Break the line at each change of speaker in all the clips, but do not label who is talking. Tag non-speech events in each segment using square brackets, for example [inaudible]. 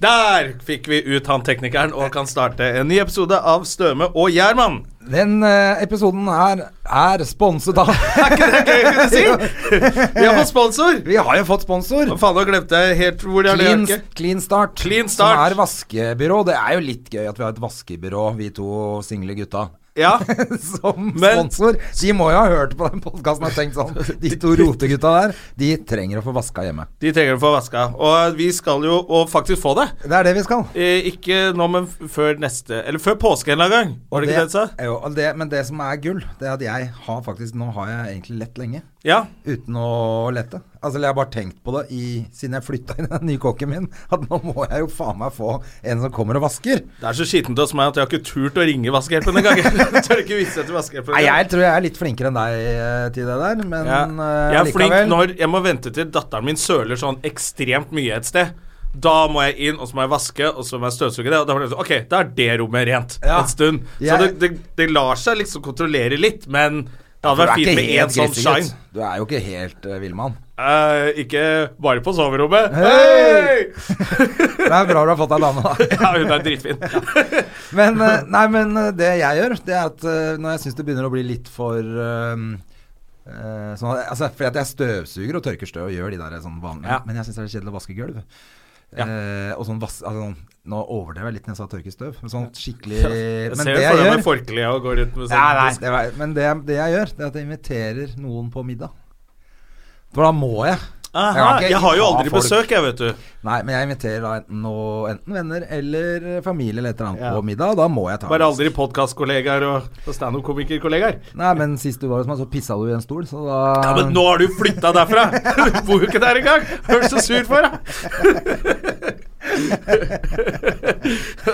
Der fikk vi ut han teknikeren og kan starte en ny episode av Støme og Gjerman.
Den eh, episoden her er sponset av [laughs]
Er ikke det gøy å kunne si? Vi har fått sponsor.
Vi har jo fått sponsor.
Å, Faen, nå glemte jeg helt hvor det er.
Clean,
det er ikke.
clean, start,
Clean Start.
Som er vaskebyrå. Det er jo litt gøy at vi har et vaskebyrå, vi to single gutta. [laughs]
Ja.
Som
Men-
sponsor. De må jo ha hørt på den podkasten og tenkt sånn
[laughs]
De to rotegutta der, de trenger å få vaska hjemme.
De trenger å få vaska. Og vi skal jo og faktisk få det.
Det er det vi skal.
Eh, ikke nå, men f- før neste Eller før påske en eller annen gang. Var det ikke det du sa?
Jo, og det, men det som er gull, det er at jeg har faktisk Nå har jeg egentlig lett lenge.
Ja.
Uten å lette. Altså, jeg har bare tenkt på det i, siden jeg flytta inn i den nye kåken min, at nå må jeg jo faen meg få en som kommer og vasker.
Det er så skittent hos meg at jeg har ikke turt å ringe vaskehjelpen engang. [laughs] Jeg tør ikke vise det til vaskehjelpen.
Nei, jeg tror jeg er litt flinkere enn deg eh, til det der, men
Ja.
eh,
Jeg er flink
likevel.
når jeg må vente til datteren min søler sånn ekstremt mye et sted. Da må jeg inn, og så må jeg vaske, og så må jeg støvsuge det. Og da blir det sånn, ok, da er det rommet rent
Ja.
en stund. Så
Jeg-
det, det, det lar seg liksom kontrollere litt, men det hadde
Du er
vært
ikke
fint med én
helt
sånn
grisegutt.
shine.
Du er jo ikke helt uh, villmann.
Eh, ikke bare på soverommet.
Hei!
Hei!
Det er bra du har fått deg dame, da.
Ja, hun er dritfin.
Men, eh, nei, men eh, det jeg gjør, det er at eh, når jeg syns det begynner å bli litt for eh, eh, sånn, at- altså, fordi at jeg støvsuger og tørker støv og gjør de der sånn vanlige
Ja.
Men jeg syns det er kjedelig å vaske gulv.
Ja.
Eh, og sånn vas altså, sånn- Nå overdrev jeg litt når jeg sa tørke støv. Men sånn skikkelig
Jeg
Men
ser jo
det jeg
for meg
gjør
med forkle og går rundt med sånn
Nei, nei, det var, Men det, det jeg gjør, det er at jeg inviterer noen på middag. For da må jeg. Jeg
Aha,
kan ikke
jeg har jo
ta
aldri
folk.
besøk, jeg, vet du.
Nei, men jeg inviterer da enten, noe, enten venner eller familie eller et eller annet
Ja.
på middag. og Da må jeg ta
Bare
en
aldri podkastkollegaer og og standup-komikerkollegaer.
Nei, men sist du var hos meg, så pissa du i en stol, så da
Ja, men nå har du flytta derfra! Du bor jo ikke der engang! Hva er du så sur for, da?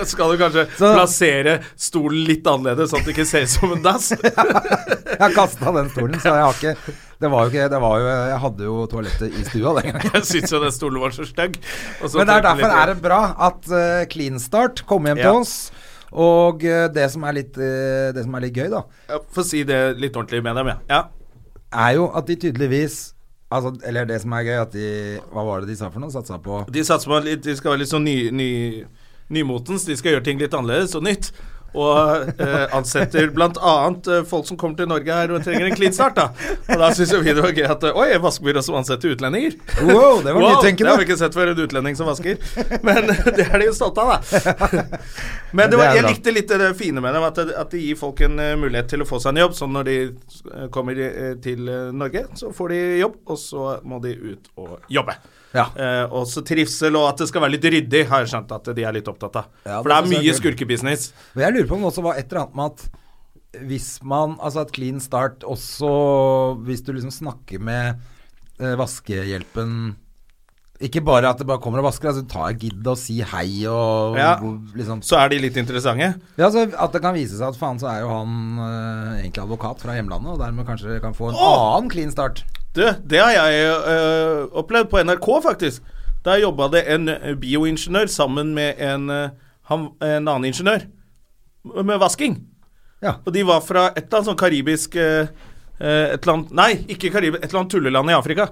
Skal du kanskje
Så-
plassere stolen litt annerledes, sånn at det ikke ser ut som en dass?
[laughs] Jeg har kasta den stolen, så jeg har ikke Det var jo ikke det var jo, Jeg hadde jo toalettet i stua den gangen.
Jeg syns jo den stolen var så stygg. og [laughs] så
Men det er
tenkte jeg
derfor
litt-
er det bra at eh, Clean Start kom hjem
Ja.
til oss. Og eh, det som er litt eh, Det som er litt gøy, da,
Ja, Få si det litt ordentlig med dem, ja. ja.
er jo at de tydeligvis Altså, eller det som er gøy, at de Hva var det de sa for noe? Satsa på
De satser på litt, de skal være litt sånn ny, ny, nymotens. De skal gjøre ting litt annerledes og nytt. Og eh, ansetter bl.a. Eh, folk som kommer til Norge her og trenger en clean start. da Og da syns jo vi det var gøy at eh, Oi, vaskebyrå som ansetter utlendinger!
Wow, det var
Wow, det
nytenkende!
har vi ikke sett før, en utlending som vasker. Men [laughs] det er de jo stolte
[laughs]
av, da. Men det var,
Det er
jeg
bra.
likte litt det fine med dem, at, det- at de gir folk en eh, mulighet til å få seg en jobb. Så når de eh, kommer eh, til eh, Norge, så får de jobb, og så må de ut og jobbe.
Ja.
Eh, også trivsel og at det skal være litt ryddig, har jeg skjønt at de er litt opptatt av.
Ja,
For det er
det synes jeg
mye
er kult.
skurkebusiness.
Men jeg lurer på om det også var et eller annet med at hvis man Altså at Clean Start også Hvis du liksom snakker med eh, vaskehjelpen Ikke bare at det bare kommer og vasker, altså ta jeg gidd og si hei og
Ja.
og liksom
Så er de litt interessante.
Ja, altså At det kan vise seg at faen, så er jo han eh, egentlig advokat fra hjemlandet, og dermed kanskje kan få en
Åh!
annen Clean Start.
Du, det har jeg eh, opplevd på NRK, faktisk. Der jobba det en eh, bioingeniør sammen med en, eh, han, en annen ingeniør med vasking.
Ja.
Og de var fra et eller annet sånn karibisk eh, eh, et eller annet, Nei, ikke Karibia, et eller annet tulleland i Afrika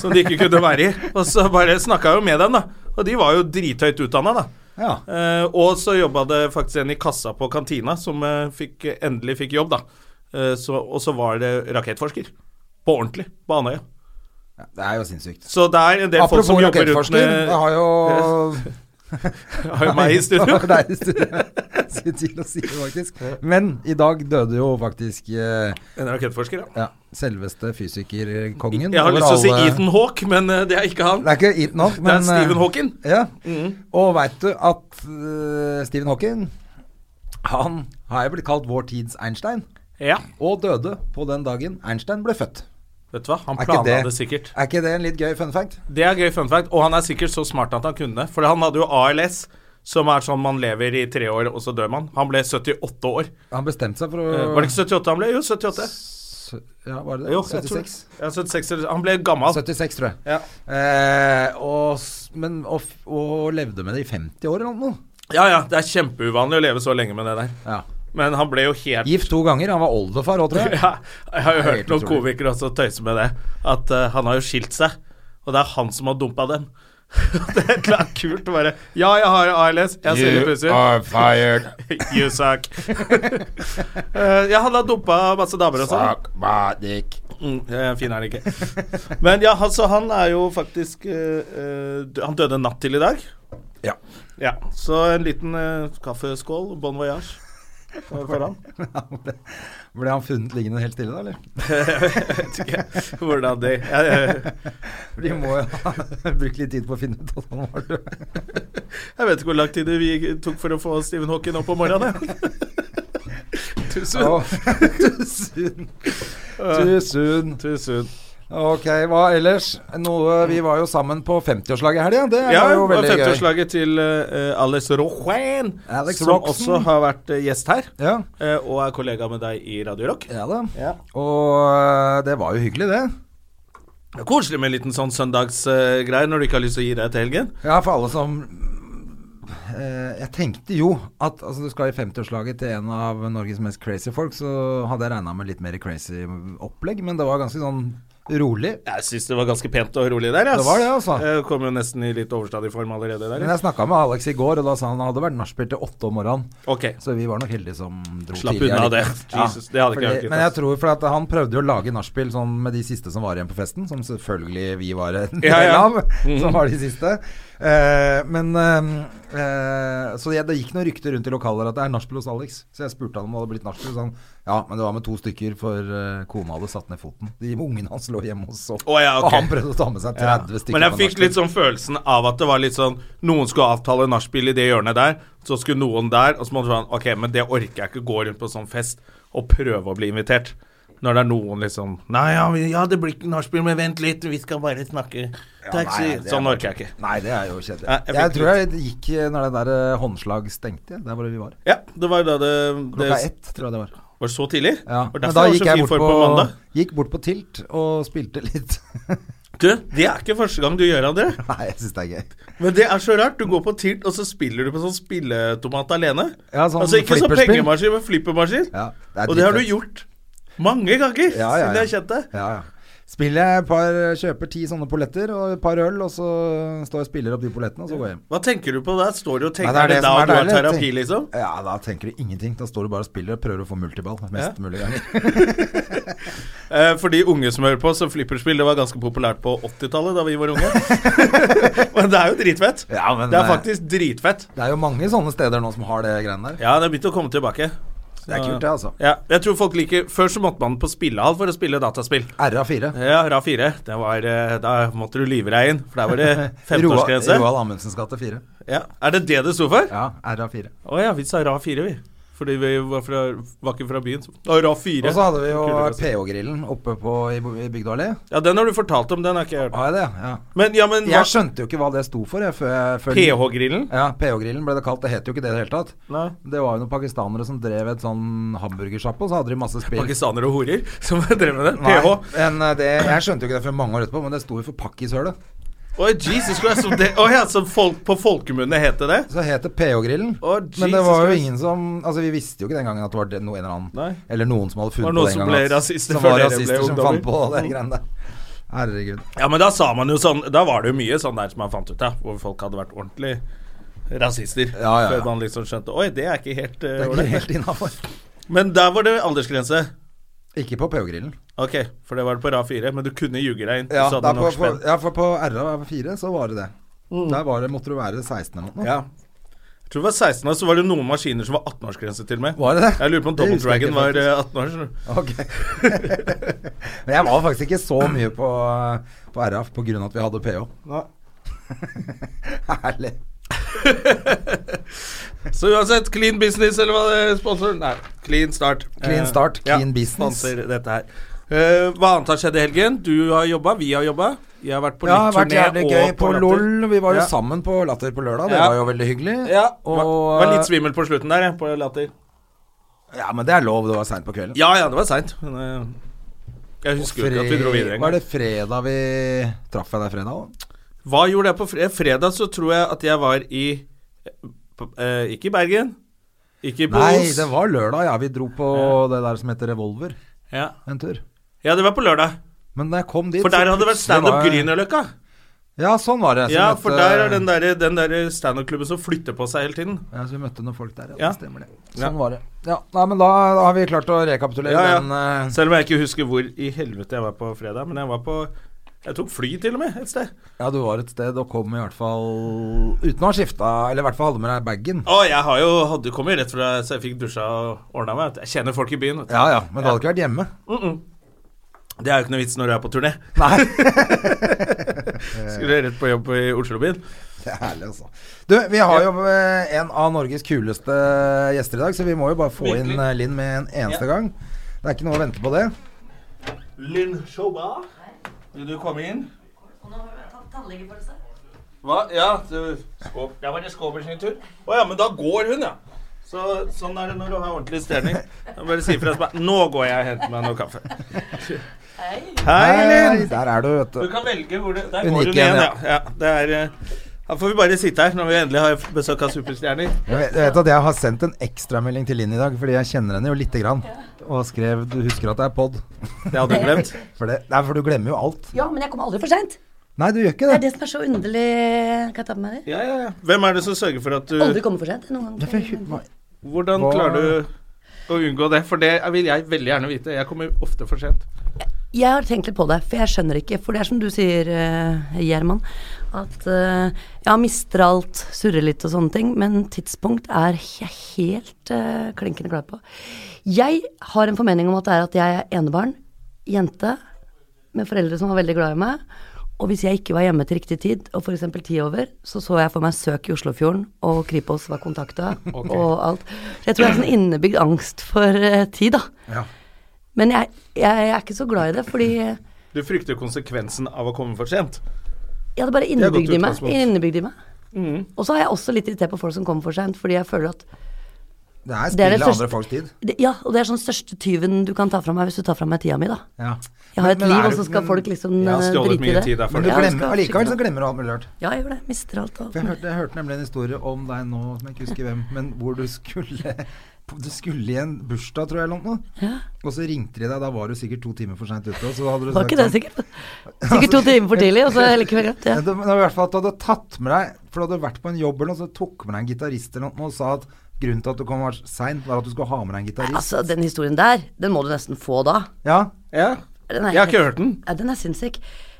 som de ikke kunne være i. Og så bare snakka jo med dem, da. Og de var jo drithøyt utdanna, da.
ja.
Eh, og så jobba det faktisk en i kassa på kantina som eh, fikk, endelig fikk jobb, da. Eh, så, og så var det rakettforsker. På ordentlig. På Andøya.
Ja, Det er jo sinnssykt.
Så det er en del folk som
Apropos
jobber rundt
rakettforsker,
med
det har jo
[laughs] har jo meg i studio.
[laughs] Det er i studio. Skulle til å si det, faktisk. Men i dag døde jo faktisk eh,
En rakettforsker, ja.
ja, selveste fysikerkongen.
Jeg har
over
lyst til å si
alle-
Ethan Hawke, men eh, det er ikke han.
Det er ikke Ethan Hawke,
det
men
er Stephen
eh,
Hawking.
Ja.
Mhm.
Og veit du at eh, Stephen Hawking Han har jo blitt kalt vår tids Einstein,
Ja.
og døde på den dagen Einstein ble født.
Vet du hva, han
Er ikke
planla det.
det-
sikkert.
Er ikke det en litt gøy fun fact?
Det er gøy fun fact, og han er sikkert så smart at han kunne det. For han hadde jo ALS, som er sånn man lever i tre år, og så dør man. Han ble 78 år.
Han bestemte seg for å
Eh, Var det ikke 78 han ble? Jo, 78.
S- Ja, var det det?
Jo, jeg tror det.
76?
Ja, 76 eller- Han ble gammel.
76, tror jeg.
Ja.
Eh, og, s- men, og, f- og levde med det i 50 år eller noe.
ja ja, det er kjempeuvanlig å leve så lenge med det der.
Ja.
Men han ble jo helt
Gift to ganger. Han var oldefar òg, tror jeg.
[laughs] ja, Jeg har jo
Det er
hørt
helt
noen
utrolig.
komikere også tøyse med det. At eh, han har jo skilt seg, og det er han som har dumpa dem. [laughs] det er et eller annet kult å bare Ja, jeg har ALS. Jeg ser litt pussig ut.
fired.
[laughs] You suck. Eh, jeg hadde dumpa masse damer og sånn.
my dick.
Mm, eh, fin er den ikke. Men ja, altså, han er jo faktisk eh, eh, dø- Han døde natt til i dag.
Ja.
Ja, Så en liten eh, kaffeskål, bon voyage, eh, for han.
ble, ble han funnet liggende helt stille da, eller?
jeg vet ikke hvordan det jeg, jeg,
For de må jo ha [laughs] brukt litt tid på å finne ut at han var død.
jeg vet ikke hvor lang tid vi tok for å få Stephen Hawking opp om morgenen. [laughs] jeg. Too soon.
[laughs] Å, Too soon.
Eh,
Too soon.
too soon.
Ok, hva ellers? Noe, vi var jo sammen på 50-årslaget i helga. Det var
Ja,
jo
og
veldig gøy.
50-årslaget til eh, Alex Rochen,
Alex
som
Roxen.
også har vært eh, gjest her,
Ja.
eh, og er kollega med deg i Radio Rock.
ja da.
Ja.
Og eh, det var jo hyggelig, det.
Det er Koselig med en liten sånn søndagsgreie når du ikke har lyst til å gi deg til helgen.
Ja, for alle som eh, Jeg tenkte jo at altså, du skal i 50-årslaget til en av Norges mest crazy folk, så hadde jeg regna med litt mer crazy opplegg, men det var ganske sånn rolig.
Jeg syns det var ganske pent og rolig der. ass.
Det var det, altså.
Jeg kom jo nesten i litt overstadig form allerede der.
Men jeg snakka med Alex i går, og da sa han han hadde vært nachspiel til åtte om morgenen.
Ok,
Så vi var nok heldige som dro
slapp
tidlig
unna det. [laughs]
allikevel.
Jesus, det hadde ikke jeg
Fordi,
orket.
men jeg
ass.
tror for at han prøvde jo å lage nachspiel sånn med de siste som var igjen på festen, som selvfølgelig vi var en del
Ja, Mhm. ja.
av, [laughs] som var de siste. Eh, men eh, eh, Så jeg, det gikk noen rykter rundt i lokaler at det er nachspiel hos Alex. Så jeg spurte han om det hadde blitt nachspiel. Så han ja, men det var med to stykker, for eh, kona hadde satt ned foten. De ungene hans lå hjemme hos oss.
Å, ja, ok.
Og han prøvde å ta med seg 30 stykker.
Men jeg
på
fikk
nachspiel.
litt sånn følelsen av at det var litt sånn Noen skulle avtale nachspiel i det hjørnet der, så skulle noen der, og så måtte man Ok, men det orker jeg ikke gå rundt på sånn fest og prøve å bli invitert. Når det er noen liksom Nei, ja, vi- ja det blir ikke nachspiel, men vent litt, vi skal bare snakke taxi.
nei, det er
sånn orker jeg ikke.
Nei, det er jo kjedelig.
Nei,
Jeg,
jeg fikk
tror jeg gikk eh, når det der eh, håndslag stengte, der hvor vi var.
Ja, det var jo da det, det
Klokka ett, tror jeg det var.
Var det så tidlig?
Ja,
Var
men
derfor
da
jeg var
gikk
så
jeg
fin
bort
form
på,
på mandag.
gikk bort på Tilt og spilte litt. [laughs]
Du, det er ikke første gang du gjør André.
Nei, jeg syns det er gøy.
Men det er så rart. Du går på tilt, og så spiller du på sånn spilletomat alene.
Ja, sånn
altså ikke sånn
flipperspill.
pengemaskin, men flippermaskin.
Ja, er
og det har du
dritfett.
gjort mange ganger
Ja, ja,
siden jeg
ja.
kjente deg.
Ja, ja. Spiller jeg et par, eh, kjøper ti sånne polletter og et par øl, og så står jeg og spiller opp de pollettene, og så går jeg hjem.
Hva tenker du på da? Står du og
Nei,
tenker det, da
som er
du har
deilig.
terapi,
Tenk-
liksom?
Ja, da tenker du ingenting. Da står du bare og spiller og prøver å få multiball mest mulig
[laughs]
ganger.
Eh, for de unge som hører på, så flipperspill det var ganske populært på 80-tallet, da vi var
[laughs]
unge. men det er jo dritfett.
Ja, men
Det er
eh,
faktisk dritfett.
det er jo mange sånne steder nå som har det greiene der.
Ja, det har begynt å komme tilbake.
Det er kult, det, altså.
Ja, jeg tror folk liker Før så måtte man på spillehall for å spille dataspill.
RA4.
Ja, RAD 4. Det var, eh, da måtte du lyve deg inn, for der var det
[laughs] Roa-
15-årsgrense.
Roald Amundsens gate 4.
Ja. Er det det det sto for?
Ja, RA4.
Å ja, vi sa RAD 4, vi. Fordi vi var, fra, var ikke fra byen. så- Å, RAD 4.
Og så hadde vi jo
Kulere å si.
PH-grillen oppe på, i, i Bygdø allé.
Ja, den har du fortalt om, den har ikke jeg hørt.
Har jeg det? Ja.
Men ja, men hva-
Jeg skjønte jo ikke hva det sto for. Jeg, før jeg, før
PH-grillen?
Ja, PH-grillen ble det kalt. Det het jo ikke det i det hele tatt.
Nei.
Det var jo noen pakistanere som drev et sånn hamburgersjappe, og så hadde de masse spill.
Pakistanere og horer som drev med det?
Nei,
PH?
men, eh, det, jeg skjønte jo ikke det før mange år etterpå, men det sto jo for pakkishølet.
Oi, Jesus Christ. som det- Å ja, så folk, på folkemunne het det det?
Så het det PH-grillen.
Å,
Men det
Jesus
var jo
Christ.
ingen som Altså, vi visste jo ikke den gangen at det var det, noe, en eller annen
Nei.
Eller noen som hadde funnet
Var det noen
på den
som
gangen.
ble
at-
rasister
som
før
var
dere ble
rasister som
ungdommer?
fant på det greiene der. Herregud.
Ja, men da sa man jo sånn Da var det jo mye sånn der som man fant ut av, hvor folk hadde vært ordentlig rasister.
Ja, ja, ja.
Før man liksom skjønte Oi, det er ikke helt
Det
eh,
er ikke
ålreit.
helt innafor.
Men der var det aldersgrense.
Ikke på PH-grillen.
Ok, for det var det på rad 4, men du kunne ljuge deg inn.
Ja,
så
da
hadde du
på,
nok
på,
spenn.
ja, for på RA4 så var det det.
Mm.
Der var det, måtte du være 16 eller noe.
Ja. Jeg tror det var 16 år, så var det noen maskiner som var 18-årsgrense til og med.
Var det det?
Jeg lurer på om
Det
Double
husker jeg
Dragon
ikke
var eh, 18 år. skjønner du.
Ok. [laughs] Men jeg var faktisk ikke så mye på, på RAF på grunn av at vi hadde PH. [laughs] Herlig.
Så uansett, clean business eller hva det er sponsor Nei, clean start.
Clean start,
Eh,
clean business.
Sponsor dette her. Eh, hva annet har skjedd i helgen? Du har jobba, vi har jobba. Jeg har vært på
Ja,
litt
vært
turné
jævlig
og
gøy på
latter.
LOL. Vi var jo
Ja.
sammen på Latter på lørdag. Det
Ja.
var jo veldig hyggelig.
Ja,
og, eh,
var, var litt svimmel på slutten der, jeg, på latter.
ja, men det er lov. Det var seint på kvelden.
Ja ja, det var seint. men, eh, Jeg husker jo ikke at vi dro videre
Var
engang.
det fredag vi traff deg der fredag òg?
Hva gjorde jeg på fre fredag? Så tror jeg at jeg var i på, eh, Ikke i Bergen. Ikke på
Nei,
Os.
det var lørdag. Ja, vi dro på det der som heter Revolver
Ja.
en tur.
ja, det var på lørdag.
Men da jeg kom dit
For
så
der hadde det vært
plutselig
standup
var jeg-
Grünerløkka.
Ja, sånn var det. Så
Ja,
møtte-
for der er den derre den der standup-klubben som flytter på seg hele tiden.
Ja, så vi møtte noen folk der, ja.
Ja.
Det stemmer det.
Ja.
Sånn var det. Ja, nei, men da, da har vi klart å rekapitulere
Ja, ja.
den eh,
Selv om jeg ikke husker hvor i helvete jeg var på fredag, men jeg var på Jeg tok fly til og med et sted.
Ja, du var et sted og kom i hvert fall uten å ha skifta, eller i hvert fall hadde med deg bagen.
Å, jeg har jo hadde kommet rett fra så jeg fikk dusja og ordna meg. Jeg kjenner folk i byen. Vet du.
Ja ja, men du hadde ikke vært hjemme.
Mm -mm. Det er jo ikke noe vits når du er på turné.
Nei.
Skulle rett på jobb i Oslo-byen.
Det er herlig, altså. Du, vi har jo eh, en av Norges kuleste gjester i dag, så vi må jo bare få
Virkelig.
inn eh, Linn med en eneste gang. Det er ikke noe å vente på det.
Linn Shoba, vil du komme inn?
Og nå har du tatt tannlegefølelse.
Hva? Ja, du, skåp. Der var det Skåber sin tur. Å ja, men da går hun, ja. Så, sånn er det når du har ordentlig stemning. Da Bare si fra. så bare, Nå går jeg og henter meg noe kaffe.
Hei.
Hei, Linn!
Der er du, vet
Du
du.
kan velge hvor det Der
Hun
går hun
gikk
igjen,
igjen,
ja. ja det er, eh, her får vi bare sitte her når vi endelig har besøk av superstjerner.
Jeg vet, jeg vet at jeg har sendt en ekstramelding til Linn i dag, fordi jeg kjenner henne jo lite grann. Og skrev 'Du husker at det er pod'?
Det hadde du glemt.
For, det, nei, for du glemmer jo alt.
Ja, men jeg kommer aldri for seint.
Nei, du gjør ikke
Det er
det.
det som er så underlig. Kan jeg ta på meg det?
[laughs] Ja, ja, ja. Hvem er det som sørger for at
Aldri
du
kommer for seint. Noen
Det er for-
ganger.
hva-
Hvordan
Hva-
klarer du å unngå det? For det vil jeg veldig gjerne vite. Jeg kommer ofte for sent.
Jeg har tenkt litt på det, for jeg skjønner ikke. For det er som du sier, eh, Gjerman, at eh, jeg mister alt, surrer litt og sånne ting. Men tidspunkt er jeg helt eh, klinkende klar på. Jeg har en formening om at det er at jeg er enebarn, jente, med foreldre som var veldig glad i meg. Og hvis jeg ikke var hjemme til riktig tid, og f.eks. ti over, så så jeg for meg søk i Oslofjorden, og Kripos var kontakta, og alt. Så jeg tror jeg har sånn innebygd angst for eh, tid, da.
Ja.
Men jeg, jeg er ikke så glad i det, fordi jeg
Du frykter konsekvensen av å komme for sent.
hadde bare
er godt
innebygd i meg.
utgangspunkt.
Innebygd i meg.
Mm.
Og så er jeg også litt irritert på folk som kommer for seint, fordi jeg føler at
Det er
Det er det
spill av andre
første-
folks tid.
det, Ja, og det er sånn største tyven du kan ta fra meg hvis du tar fra meg tida mi, da.
Ja.
Jeg har et liv,
er
og
du-
så skal
men-
folk liksom
Jeg har
eh,
stjålet
drite i
mye
det.
tid derfor.
Men du
Ja, jeg
glemmer,
skal
allikevel så
skynde meg.
glemmer du alt mulig rart.
Ja, jeg gjør det. Mister alt. alt.
For jeg hørte, jeg hørte nemlig en historie om deg nå, som jeg ikke husker hvem, men hvor du skulle [laughs] Du skulle i en bursdag, tror jeg, eller noe.
Ja.
Og så ringte de deg, da var du sikkert to timer for seint ute. Og så hadde du
Var
sagt
ikke det
sånn-
sikkert? Sikkert to timer for tidlig, og så likevel glemt. Ja.
Men det- men det var i hvert fall at du hadde tatt med deg For du hadde vært på en jobb eller noe, så tok med deg en gitarist eller noe og sa at grunnen til at du kom seint, var at du skulle ha med deg en gitarist.
Altså, den historien der, den må du nesten få da.
Ja.
Ja.
Den er
Jeg har ikke
helt-
hørt den.
Ja, den er sinnssyk.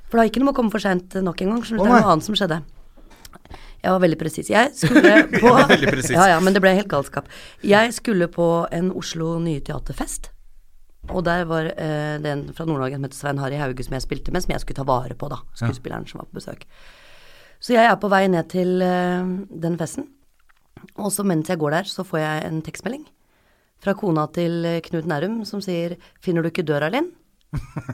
For det har ikke noe med å komme for seint nok en gang. skjønner
Å,
du, det er
nei.
noe annet som skjedde. Jeg var veldig presis. Jeg skulle på
var veldig presis.
Ja, ja, men det ble helt galskap. Jeg skulle på en Oslo Nye Teaterfest. Og der var eh, det en fra Nord-Norge som het Svein Harry Hauge, som jeg spilte med, som jeg skulle ta vare på, da. Skuespilleren som var på besøk. Så jeg er på vei ned til eh, den festen. Og så mens jeg går der, så får jeg en tekstmelding fra kona til eh, Knut Nærum som sier 'Finner du ikke døra, Linn?'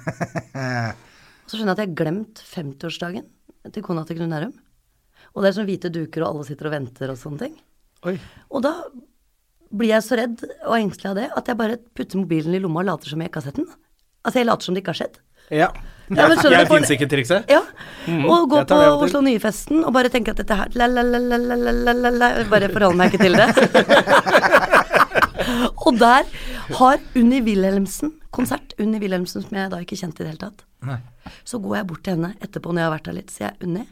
Og så skjønner jeg at jeg har glemt 50-årsdagen til kona til Knut Nærum. Og det er sånn hvite duker, og alle sitter og venter og sånne ting. Og da blir jeg så redd og engstelig av det at jeg bare putter mobilen i lomma og later som jeg ikke har sett den. Altså, jeg later som det ikke har skjedd.
[laughs] Ja.
Ja, men skjønner
jeg
du, for-
finnes ikke trikset. Mm-hmm.
Ja. og gå
jeg tar
på
det av og til.
Oslo Nye-festen og bare tenke at dette her la, la, la, la, la, la, la, la, la, Bare forholde meg ikke til det. [laughs] og der har Unni Wilhelmsen konsert. Unni Wilhelmsen som jeg da ikke kjente i det hele tatt. Så går jeg bort til henne etterpå når jeg har vært her litt, sier jeg Unni,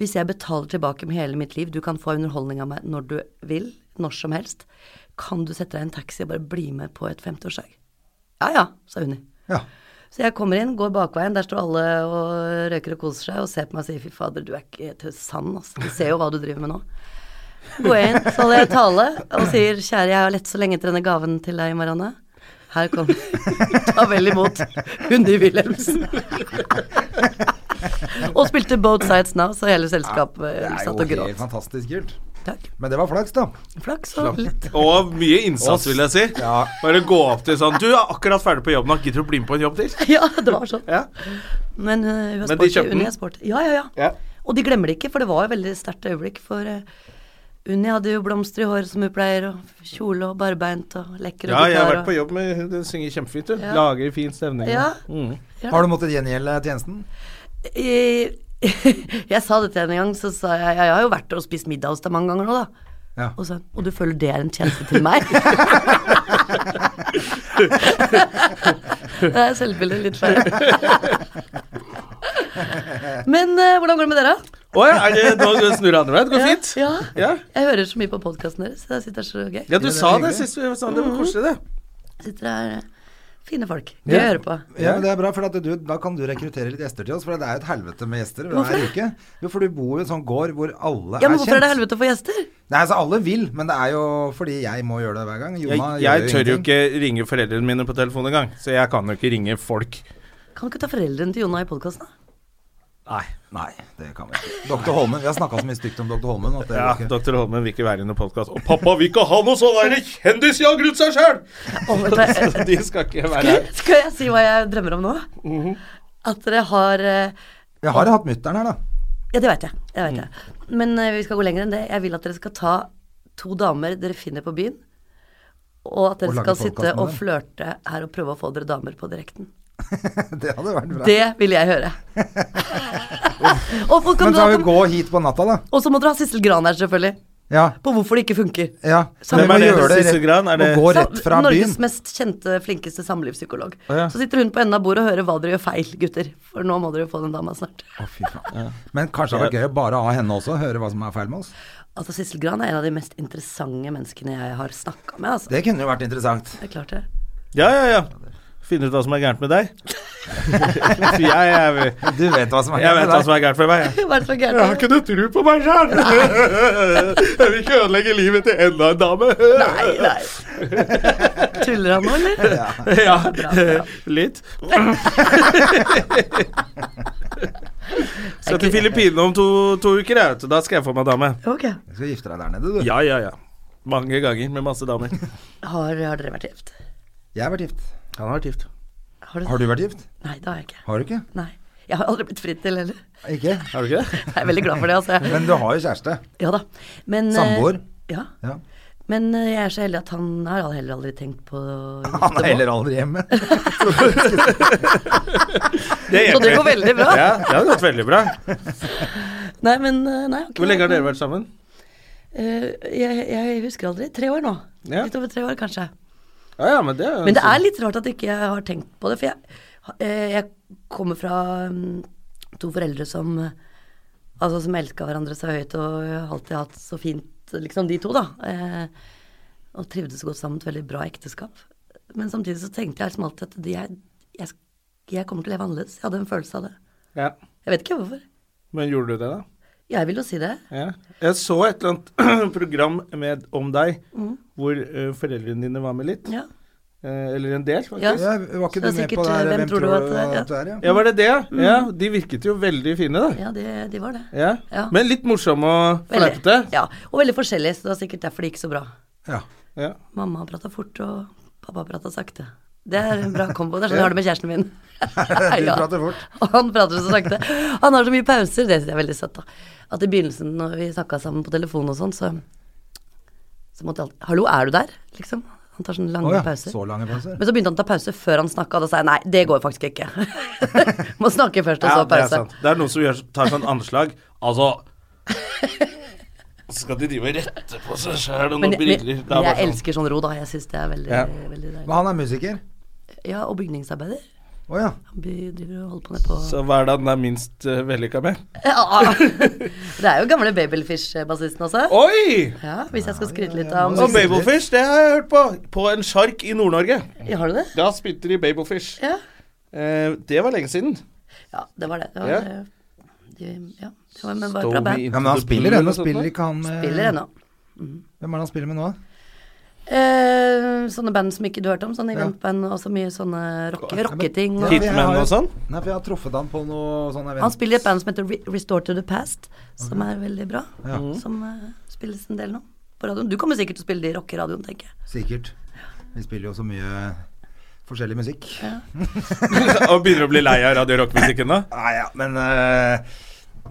hvis jeg betaler tilbake med hele mitt liv, du kan få underholdning av meg når du vil, når som helst, kan du sette deg i en taxi og bare bli med på et 50-årsdag? Ja ja, sa Unni.
ja.
Så jeg kommer inn, går bakveien, der står alle og røyker og koser seg, og ser på meg og sier fy fader, du er ikke til sann, altså. Du ser jo hva du driver med nå. Går jeg inn, så holder jeg tale og sier kjære, jeg har lett så lenge etter denne gaven til deg, Marianne. Her kommer [laughs] Ta vel imot Hundi Wilhelmsen. og spilte Both Sides Now, så hele selskapet
Det er
satt og
jo helt
gråt.
fantastisk kult.
Takk.
Men det var flaks, da.
Flaks og litt.
Og mye innsats, vil jeg si.
Ja.
Bare gå opp til sånn Du er akkurat ferdig på jobb nå, gidder du å bli med på en jobb til?
[laughs] Ja, det var sånn.
Ja.
Men øh, hun er
Men de
sporty.
kjøpte
Unni
den?
er sporty. Ja, ja, ja,
Ja.
Og de glemmer det ikke, for det var jo et veldig sterkt øyeblikk. For øh, Unni hadde jo blomster i håret som hun pleier, og kjole og barbeint og lekker og
Ja, jeg har vært
og-
på jobb med Hun synger kjempefint, du.
Ja.
Lager fin stemning.
Ja.
Mm.
Ja.
Har du måttet gjengjelde tjenesten?
I- [laughs] jeg sa det til henne en gang, så sa jeg jeg har jo vært og spist middag hos deg mange ganger nå, da.
Ja.
Og så Og du føler det er en tjeneste til meg? [laughs]
[laughs]
det er selvbildet litt feil. Men eh, hvordan går det med dere?
Å ja, er det, nå snur det andre veien. Det går fint.
Ja, ja.
Ja.
Jeg hører så mye på podkasten deres. Det sitter så gøy.
ja, du
det er
sa det
hyggelig.
sist vi sa det.
Mm.
Det var koselig, det.
Sitter her eh, fine folk. Gøy
Ja.
å høre på.
Ja, men det er bra, for at du, da kan du rekruttere litt gjester til oss. For det er jo et helvete med gjester hver uke. Jo, for du bor jo i en sånn gård hvor alle
Ja, men
er
Hvorfor er
kjent.
det helvete å få gjester?
Nei, altså alle vil, men det er jo fordi jeg må gjøre det hver gang. Jona
Jeg, jeg tør jo ikke ringe foreldrene mine på telefon engang, så jeg kan jo ikke ringe folk.
Kan du ikke ta foreldrene til Jonna i
[laughs]
podkasten?
Nei, nei, det kan vi ikke. Dr. Holmen. Vi har snakka så mye stygt om Dr. Holmen at det
Ja,
går ikke.
Dr. Holmen vil ikke være i noen podkast. Og pappa vil ikke ha noe sånn derre kjendisjag rundt seg sjøl! De skal ikke være her.
Skal jeg si hva jeg drømmer om nå?
Mhm.
At dere har eh,
Jeg har hatt mutter'n her, da. [laughs]
Ja, det veit jeg. Det vet jeg.
Mm.
Men eh, vi skal gå lenger enn det. Jeg vil at dere skal ta to damer dere finner på byen, og at dere
Og lage
skal
podcast
sitte
med
og
dem.
flørte her og prøve å få dere damer på direkten.
Det hadde vært bra.
Det vil jeg
[laughs]
høre. [laughs] og, folk kan
Men så
dra
kan vi
til-
gå hit på natta, da.
og så må dere ha Sissel Gran her, selvfølgelig.
Ja.
På hvorfor det ikke funker.
ja.
Hvem
Men vi må
er det,
gjøre
Sissel
rett-
Gran? Er det-
Må gå rett fra
Norges
byen.
mest kjente, flinkeste samlivspsykolog.
Å, ja.
Så sitter hun på enden av bordet og hører hva dere gjør feil, gutter. For nå må dere få den dama snart.
Å, fy faen. Men kanskje det hadde vært gøy å bare ha henne også, høre hva som er feil med oss.
Altså, Sissel Gran er en av de mest interessante menneskene jeg har snakka med, altså.
Det kunne jo vært interessant.
Det er klart det.
Ja, ja, ja. Finne ut hva som er gærent med [laughs] deg. Så jeg, jeg,
Du vet hva som er
jeg
gærent
vet
med
hva
deg.
som er gærent med meg.
Hva er det som er
Jeg har
gærent?
ikke noe tro på meg [laughs] sjøl! Jeg vil ikke ødelegge livet til enda en dame.
Nei, nei.
[laughs]
Tuller han nå, eller?
Ja, eh,
bra.
litt. [laughs] Skal til Filippinene om to, to uker, jeg, vet du. Da skal jeg få meg dame.
Ok.
Du skal gifte deg der nede, du.
Ja, ja, ja. Mange ganger med masse damer.
Har, har dere vært gift?
Jeg har vært gift.
Han har vært gift.
Har du?
Har du vært gift?
Nei, det har jeg ikke.
Har du ikke?
Nei. Jeg har aldri blitt fridd til heller.
Ikke?
Har du ikke det?
Jeg er veldig glad for det, altså.
Men du har jo kjæreste.
Ja da. Men, eh,
Samboer.
Ja.
Ja.
Men eh, jeg er så heldig at han har heller aldri tenkt på
[laughs]
Han er heller aldri
[laughs]
hjemme.
Så det går veldig bra.
Ja, det har gått veldig bra.
Nei, men eh, nei, ok.
Hvor lenge har dere vært sammen?
Eh, jeg, jeg husker aldri. Tre år nå.
Ja.
Litt over tre år, kanskje.
Ja, ja, men det er sånn- jo
Men det er litt rart at ikke jeg har tenkt på det, for jeg, eh, jeg kommer fra mm, to foreldre som eh, Altså som elska hverandre så høyt og har alltid hatt så fint, liksom de to, da. Eh, og trivdes så godt sammen. Et veldig bra ekteskap. Men samtidig så tenkte jeg liksom alltid at de er, jeg, jeg kommer til å leve annerledes. Jeg hadde en følelse av det.
ja.
Jeg vet ikke hvorfor.
Men gjorde du det, da?
Jeg vil jo si det.
Ja. Jeg så et eller annet [clears throat] program med, om deg
Mm.
hvor eh, foreldrene dine var med litt.
Ja.
Eh, eller en del, faktisk.
Ja.
Ja, var ikke
Så det er
du med
sikkert,
på det her?
hvem tror du at det er?
du er? Ja.
Ja, var det det? ja? Ja,
Mm.
de virket jo veldig fine, da.
Ja, de, de var
[laughs]
det.
Ja.
Ja.
Men litt morsomme og
Veldig.
fleipete.
Ja, og veldig forskjellig, så det var sikkert derfor det gikk så bra.
Ja.
Ja.
Mamma prata fort, og pappa prata sakte. Det er en bra kombo. Det er sånn jeg har det med kjæresten min.
[laughs] Du
Ja.
prater fort.
Og han prater så sakte. Han har så mye pauser, det syns jeg er veldig søtt, da. At i begynnelsen, når vi snakka sammen på telefon og sånn, så, så måtte jeg alltid Hallo, er du der? Liksom. Han tar sånne lange
Å ja,
pauser.
så lange pauser.
Men så begynte han å ta pause før han snakka, og da sa jeg nei, det går faktisk ikke. [laughs] Må snakke først, og
Ja,
så
det er
pause.
sant. Det er noen som gjør, tar sånn anslag. Altså Så skal de drive og rette på seg sjæl og noen
Men, jeg-
briller. Det er
men, men
bare
jeg
sånn.
elsker sånn ro, da. Jeg syns det er veldig,
Ja.
veldig deilig.
Men han er musiker?
Ja, og bygningsarbeider.
Å ja.
Han by- driver og holder på ned på
Så hva er det han er minst uh, vellykka med?
[laughs] Ja, Det er jo gamle Babelfish-bassisten også.
Oi!
Ja, hvis jeg skal skryte litt av
Og Babelfish, det har jeg hørt på. På en sjark i Nord-Norge.
Ja, Har du det?
Da spilte de Babelfish.
Ja.
Eh, det var lenge siden. [laughs]
ja, det var det. det var,
Ja.
eh, de- ja, det var, men var et bra band.
ja men han spiller ennå, spiller ikke han eh,
Spiller ennå.
Hvem er det han spiller med nå?
Eh, sånne band som ikke du hørte om, sånn
Ja.
eventband og så mye sånne rocke, rocketing.
Ja,
og-
for jeg
Hitman
har jo-
og sånn?
Nei, for jeg har truffet han på noe sånn event.
Han spiller i et band som heter Re Restore to the Past, som er veldig bra.
Ja. Mhm.
Som eh, spilles en del nå på radioen. Du kommer sikkert til å spille det i rockeradioen, tenker jeg.
Sikkert. Vi spiller jo så mye forskjellig musikk.
og begynner å bli lei av radio- og rockmusikken nå?
Nei, Ah, ja, men eh,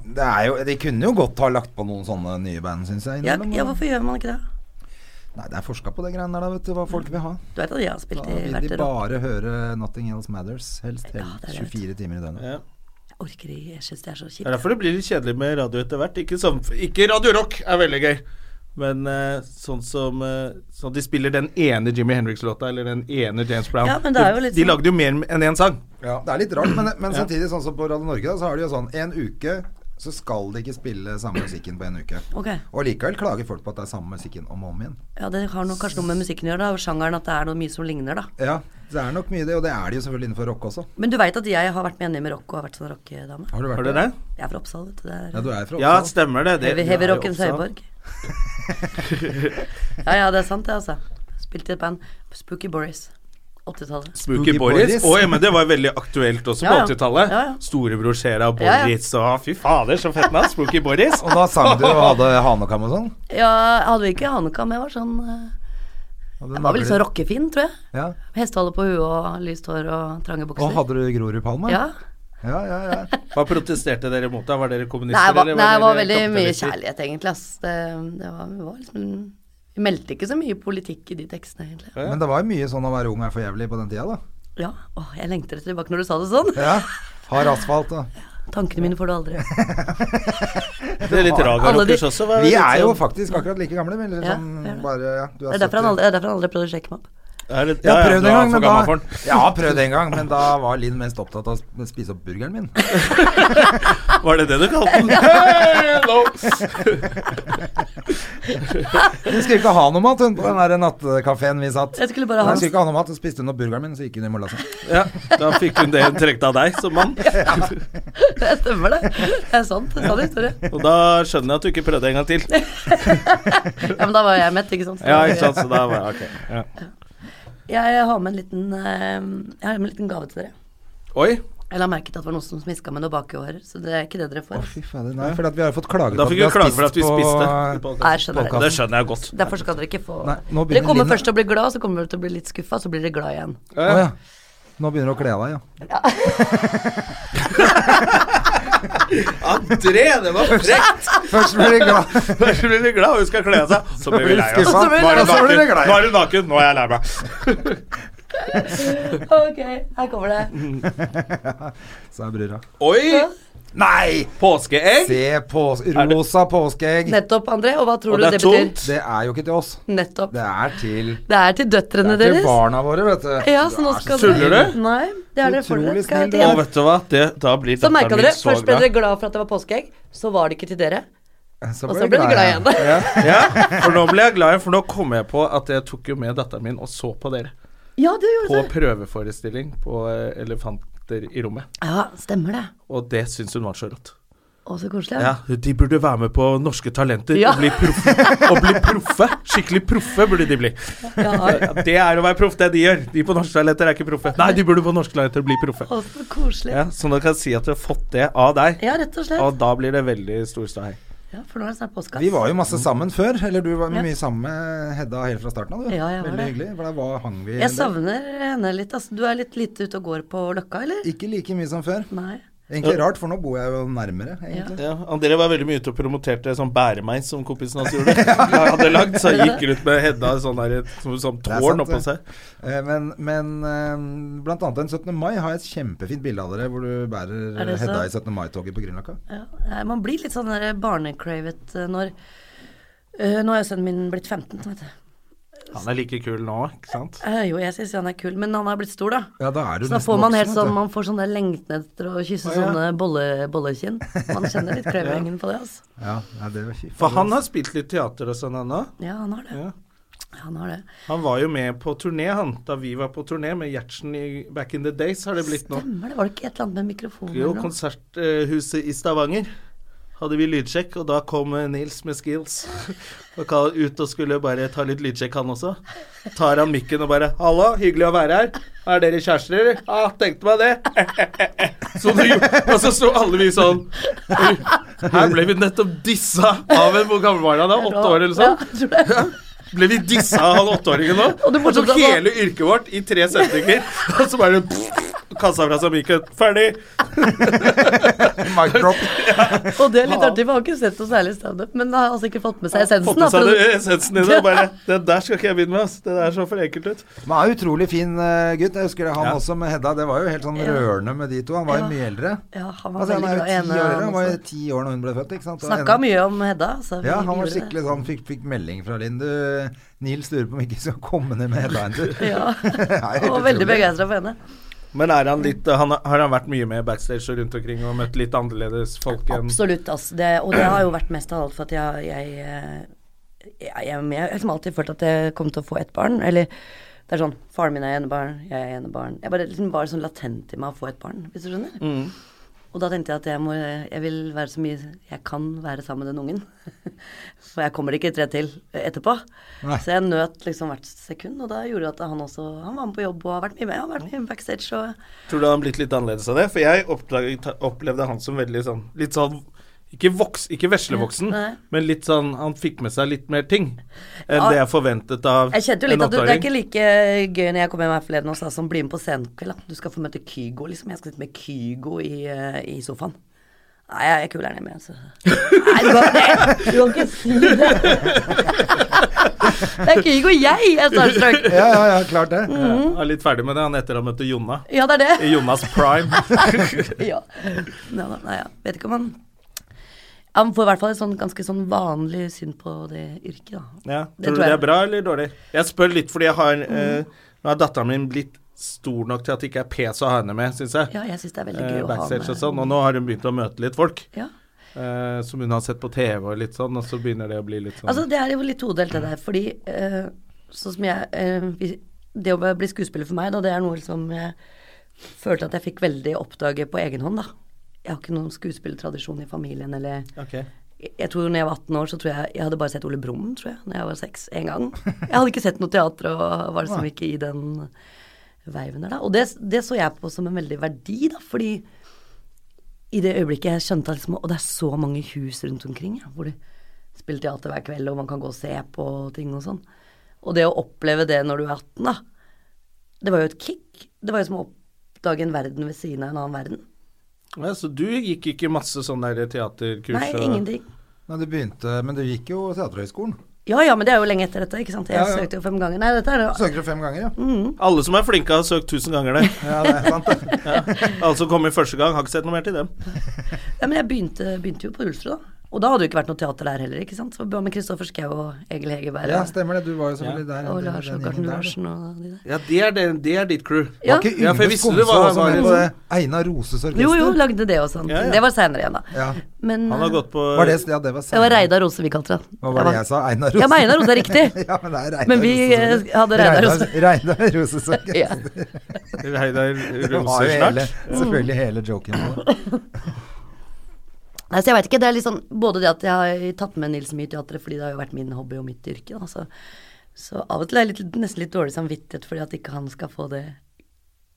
det er jo De kunne jo godt ha lagt på noen sånne nye band, syns jeg.
Ja,
innimellom.
ja, hvorfor gjør man ikke det?
Nei, det er forska på det greiene der, da, vet du. Hva folk vil ha.
Du vet at jeg har spilt
Da
i
vil
hvert
de
rock...
bare høre 'Nothing Else Matters', helst,
Ja,
helst
det er det, vet du.
24 timer i døgnet.
Ja.
Jeg orker ikke, jeg syns det er så
Det er
kjipt.
derfor det blir litt kjedelig med radio etter hvert. Ikke, som, ikke Radio Rock er veldig gøy. Men eh, sånn som eh, sånn De spiller den ene Jimmy Henriks-låta, eller den ene James Brown.
Ja, men det er jo litt
de, de
sånn-
lagde jo mer enn én sang.
Ja, det er litt rart, men, men samtidig, sånn som på Radio Norge, da, så har de jo sånn En uke så skal de ikke spille samme musikken på en uke.
Ok.
Og likevel klager folk på at det er samme musikken om og om igjen.
Ja, det har nok kanskje noe med musikken å gjøre, da. og Sjangeren at det er noe mye som ligner, da.
Ja, det er nok mye det, og det er det jo selvfølgelig innenfor rock også.
Men du veit at jeg har vært med henne med rock og har vært sånn rockedame?
Har du vært
Har du det?
Jeg er fra Oppsal, vet du. Det er
Ja, du er fra
Ja,
Oppsal.
stemmer det. det
heavy,
du
heavy
er jo
rockens
også-
høyborg. [laughs] ja, ja, det er sant det, altså. Spilte i et band. Spooky Boris. 80-tallet.
Spooky
Spooky
Boris.
Boris.
Å, ja, men det var veldig aktuelt også
Ja, ja.
på 80-tallet.
Ja, ja.
Storebror Skjera og
Ja, ja.
Boris og Fy fader, så fett navn! Spooky Boris.
Og da sang du og hadde hanekam og sånn?
Ja, jeg hadde jo ikke hanekam, jeg var sånn eh,
Hadde
Jeg var vel litt
nagler-
sånn rockefin, tror jeg.
Ja.
Hestehale på huet og lyst hår og trange bukser.
Og hadde du Grorudpalme?
ja.
ja, ja. ja.
[laughs] Hva protesterte dere mot da? Var dere kommunister?
Nei, jeg var,
eller
nei, jeg var
dere
veldig mye
kapitalister?
kjærlighet, egentlig. Ass. Det, det var, det var liksom Vi meldte ikke så mye politikk i de tekstene, egentlig.
Ja.
Men det var jo mye sånn å være ung er for jævlig på den tida, da.
Ja. Åh, jeg lengter etter tilbake når du sa det sånn.
Ja. Hard asfalt og
Tankene mine får du aldri.
Det er litt
Alle de-
raga-rockers også. var
Vi
litt
er jo
sånn-
faktisk akkurat like gamle, men litt
Ja,
sånn
vi er det.
bare ja, du
Det er derfor han
70.
aldri, det er derfor han aldri prøvde å shake meg opp.
Er det-
Ja,
ja, ja,
prøvd
du
en
er
gang,
for
men
gammel for
da
den.
[laughs] Ja, prøvd en gang, men da var Linn mest opptatt av å sp- spise opp burgeren min.
Var det det du kalte [laughs] den? Hello!
Hun skulle ikke ha noe mat, hun, på den der nattkafeen vi satt.
Jeg skulle bare
Hun
ha [laughs]
skulle ikke ha noe mat, så spiste hun opp burgeren min, så gikk hun i mollasen.
Ja, da fikk hun det hun trengte av deg som mann.
Det stemmer, det. Det er sant. Det er sann historie.
Og da skjønner jeg at du ikke prøvde en gang til.
Ja, men da var jeg mett, ikke sant. Så
Ja, ikke sant, så da var ok. Ja.
Jeg, jeg har med en liten eh, Jeg har med en liten gave til dere.
Oi,
Jeg la merke til at det var noen som smiska med noe baki håret, så det er ikke det dere
Å,
får.
fy fader. Nei, for at vi har jo fått klage
da
på eh, at
fikk
vi
vi
har
klage for at
spist
vi
på
spiste.
Nei, jeg skjønner
Det
det.
skjønner jeg godt.
Derfor skal dere ikke få
Nei, nå
Dere
begynner
kommer
Linn-
først til å bli glad, så kommer dere til å bli litt skuffa, så blir dere glad
[laughs]
igjen.
Å ja. Nå begynner du å kle av deg, ja.
André, det var frekt!
Først blir du glad.
Så blir vi glad, hun skal kle av seg. Så [laughs] blir vi lei altså. oss. Nå
Skuffa.
er hun
Så blir vi
naken,
glad.
nå er, hun naken. Nå er jeg lei meg.
Ok, her kommer det.
Sa brura.
Oi!
Nei!
Påskeegg.
Se på rosa påskeegg.
Nettopp, André. Og hva tror
Og
du
det er
det betyr?
tomt.
Det er jo ikke til oss.
Nettopp.
Det er til
Det er til døtrene
Det er til
deres.
barna våre, vet du.
Ja, så nå
Du er
skal
så
Tuller
dere
du?
Nei, det er dere for dere.
Utrolig
Skal jeg
snill, du.
til-
Og vet du hva? Det, da blir
Så merka
datteren
dere.
min så
Først ble
glad.
dere glad for at det var påskeegg, så var det ikke til dere.
Så
Og så ble du glad igjen.
Ja, for nå ble jeg glad igjen, for nå kom jeg på at jeg tok jo med datteren min og så på dere.
Ja, du
På
gjorde det.
prøveforestilling på eh, Elefanter i rommet.
Ja, stemmer det.
Og det syns hun var så rått.
Å, så koselig.
Ja, de burde være med på Norske Talenter
Ja.
og, bli proffe, og bli proffe. Skikkelig proffe burde de bli.
Ja,
Ja, Det er å være proff, det de gjør. De på Norske Talenter er ikke proffe. Nei, de burde på Norske Talenter bli proffe.
Å, så koselig.
Ja, så nå kan jeg si at du har fått det av deg,
Ja, rett og slett.
og da blir det veldig stor ståhei.
Ja, for nå er det snart påske.
Vi var jo masse sammen før, eller du var
Ja.
mye sammen med Hedda helt fra starten av, du.
Ja, jeg var
Veldig
det.
hyggelig, for da var, hang vi en
Jeg
del.
savner henne litt. Altså, du er litt lite ute og går på Løkka, eller?
Ikke like mye som før.
Nei.
Egentlig rart, for nå bor jeg jo nærmere, egentlig.
Ja, André var veldig mye ute og promoterte sånn bæremeis som kompisen hans [laughs] gjorde. Han hadde lagd, så han gikk rundt med Hedda sånn der, som sånn
er
tårn
sant,
oppå
det.
seg.
Eh, Men, men eh, blant annet den 17. mai har jeg et kjempefint bilde av dere hvor du bærer
Er det
Hedda
sant?
i 17. mai-toget på Grünerløkka.
Ja. Nei, Man blir litt sånn der barnecravet eh, når Eh, Nå er jo sønnen min blitt 15, vet du.
Han er like kul nå, ikke sant?
Eh, jo, jeg syns han er kul, men han er blitt stor, da.
Ja, da er du
Så da
nesten
får man helt
voksen, vet
sånn
du.
Man får sånn der lengten etter å kysse
Å, ja.
sånne bolle, bollekinn. Man
[laughs]
kjenner litt krevingen på det, altså.
Ja, ja, det var kjipt.
For han har spilt litt teater og sånn ennå.
Ja, han har det.
Ja.
Han har det.
Han var jo med på turné, han. Da vi var på turné med Gjertsen i Back in the Days, har det blitt nå.
Stemmer det. Var det ikke et eller annet med mikrofonen?
Jo,
eller noe?
konserthuset i Stavanger hadde vi lydsjekk, og da kom eh, Nils med skills [laughs] og ka- ut og skulle bare ta litt lydsjekk, han også. Tar han mikken og bare 'Hallo, hyggelig å være her. Er dere kjærester, eller?' 'Ja, tenkte meg det.' [laughs] Så det gjorde- og så sto alle vi sånn Her ble vi nettopp dissa av en Hvor gammel var han da? Åtte år, eller sånn?
Ja, jeg tror
[laughs]
det.
Ble vi dissa av han åtteåringen nå?
Og det
Han
morsomste
tok
er
[laughs]
at-
hele yrket vårt i tre setninger, og så bare kassa fra Samikøen. Ferdig!
Mic drop.
Og det er litt artig, for jeg har ikke sett noe særlig standup, men har altså ikke fått med seg essensen.
Fått med
da,
seg
for-
det- essensen i det. og
[laughs]
Bare, det der skal ikke jeg begynne med, ass. Det der så for enkelt ut.
Men han er utrolig fin eh, gutt. Jeg husker det, han
Ja.
også med Hedda. Det var jo helt sånn
Ja.
rørende med de to. Han var jo
Ja.
mye eldre.
Ja, han var
Altså, han er
veldig
jo
glad
ti
i henne,
år,
han
han var jo
også.
ti år når hun ble født. ikke sant? Og
Snakka
henne-
mye om Hedda. Altså,
Ja, han var skikkelig sånn fikk, fikk melding fra Linn. Du, Nils lurer på om ikke vi skal komme ned med Hedda en tur.
[laughs] Ja,
[laughs] Det er helt sånn.
og veldig
utrolig.
begeistra for henne.
Men er han litt, han, har han vært mye med backstage og rundt omkring og møtt litt annerledes folk enn
Absolutt, altså. Det, og det har jo vært mest av alt for at jeg Jeg, eh, jeg, jeg, jeg har liksom alltid følt at jeg kom til å få ett barn. Eller det er sånn Faren min er enebarn, jeg er enebarn. Jeg bare liksom var sånn latent i meg å få et barn, hvis du skjønner. Og da tenkte jeg at jeg, må, jeg vil være så mye jeg kan være sammen med den ungen. [laughs] For jeg kommer ikke tre til etterpå.
Nei.
Så jeg nøt liksom hvert sekund, og da gjorde det at han også Han var med på jobb og har vært mye med. Han har vært mye backstage og
Tror du han har blitt litt annerledes av det? For jeg oppdaget, opplevde han som veldig sånn Litt sånn ikke, voks, ikke veslevoksen,
Nei.
men litt sånn Han fikk med seg litt mer ting enn
Ja.
det jeg forventet av
Jeg kjente jo litt
en
at du, det er
åtteåring.
ikke like gøy når jeg kom hjem her forleden og sa som blir med på scenekveld. da. Du skal få møte Kygo, liksom. Jeg skal sitte med Kygo i, eh, i sofaen. Nei, jeg er kulere enn med, altså. Nei, du kan, det, du kan ikke si det. Det er Kygo jeg er starstruck.
Ja, ja, ja, klart det.
Ja,
Mhm.
jeg er litt ferdig med det han etter han møtte Jonna.
Ja, det er det.
I Jonas prime.
[laughs] ja. Nei, da, nei, ja. Vet ikke om han Han får i hvert fall et sånn ganske sånn vanlig syn på det yrket, da.
Ja. Tror
Det tror
du det
jeg. Mhm.
er bra eller dårlig? Jeg spør litt fordi jeg har eh, Nå er datteren min blitt stor nok til at det ikke er pes å ha henne med, syns jeg.
Ja, jeg syns det er veldig
Eh,
gøy å ha
backstage
med
og sånn. Og nå har hun begynt å møte litt folk.
Ja.
Eh, som hun har sett på TV og litt sånn, og så begynner det å bli litt sånn
Altså, det er jo litt todelt, det der. Fordi eh, sånn som jeg eh, vi- Det å bli skuespiller for meg, da, det er noe som jeg følte at jeg fikk veldig oppdage på egen hånd, da. Jeg har ikke noen skuespillertradisjon i familien, eller
Ok.
jeg tror når jeg var 18 år, så tror jeg jeg hadde bare sett Ole Brumm, tror jeg, når jeg var seks, en gang. Jeg hadde ikke sett noe teater og var liksom ikke i den veiven der, da. Og det, det så jeg på som en veldig verdi, da, fordi i det øyeblikket jeg skjønte at liksom, Og det er så mange hus rundt omkring, ja, hvor de spiller teater hver kveld, og man kan gå og se på ting og sånn. Og det å oppleve det når du er 18, da, det var jo et kick. Det var jo som å oppdage en verden ved siden av en annen verden.
Ja, så du gikk ikke masse sånn der teaterkurs?
Nei,
og-
ingenting.
Men du begynte Men du gikk jo Teaterhøgskolen.
Ja ja, men det er jo lenge etter dette, ikke sant. Jeg
Ja, ja.
søkte jo fem ganger. Nei, dette er jo
Du søkte jo fem ganger, ja.
Alle som er flinke, har søkt tusen ganger det.
[laughs]
Ja, det er sant. det.
Alle som kommer første gang, har ikke sett noe mer til dem.
Ja, men jeg begynte, begynte jo på Ulsrud, da. Og da hadde det jo ikke vært noe teater der heller, ikke sant. Så det var med Kristoffer Schou og Egil Hegerberg
Ja,
og-
stemmer det. Du var jo selvfølgelig der.
og
den-
Lars
den
og
gjengen
Garten
der, du.
Larsen og de der.
Ja, det er, det, det er ditt crew.
Ja.
Var ikke
Ja, for jeg
Yngve
visste det
Skomsø
var-
også
var
med
det- sånn-
på det? Einar Roses orkester?
Jo, jo, lagde det og sånn.
Ja, ja.
Det var seinere igjen, da.
Ja.
Men eh,
Han har gått på
Var det, ja, det var
Det var Reidar Rose vi kalte det.
Hva var det jeg sa? Einar Roses?
Ja, men Einar Rose er riktig.
[laughs] Ja, men det er Reidar
Men vi,
Roses-
eh, hadde Reidar Roses.
Reidar Roses
[laughs]
orkester.
Ja.
Reidar
Det var jo
Roser
hele,
snart.
selvfølgelig hele joken. på det.
Nei, så jeg veit ikke. Det er litt sånn både det at jeg har tatt med Nils mye i teatret, fordi det har jo vært min hobby og mitt yrke, da. Så, så av og til er jeg litt, nesten litt dårlig samvittighet fordi at ikke han skal få det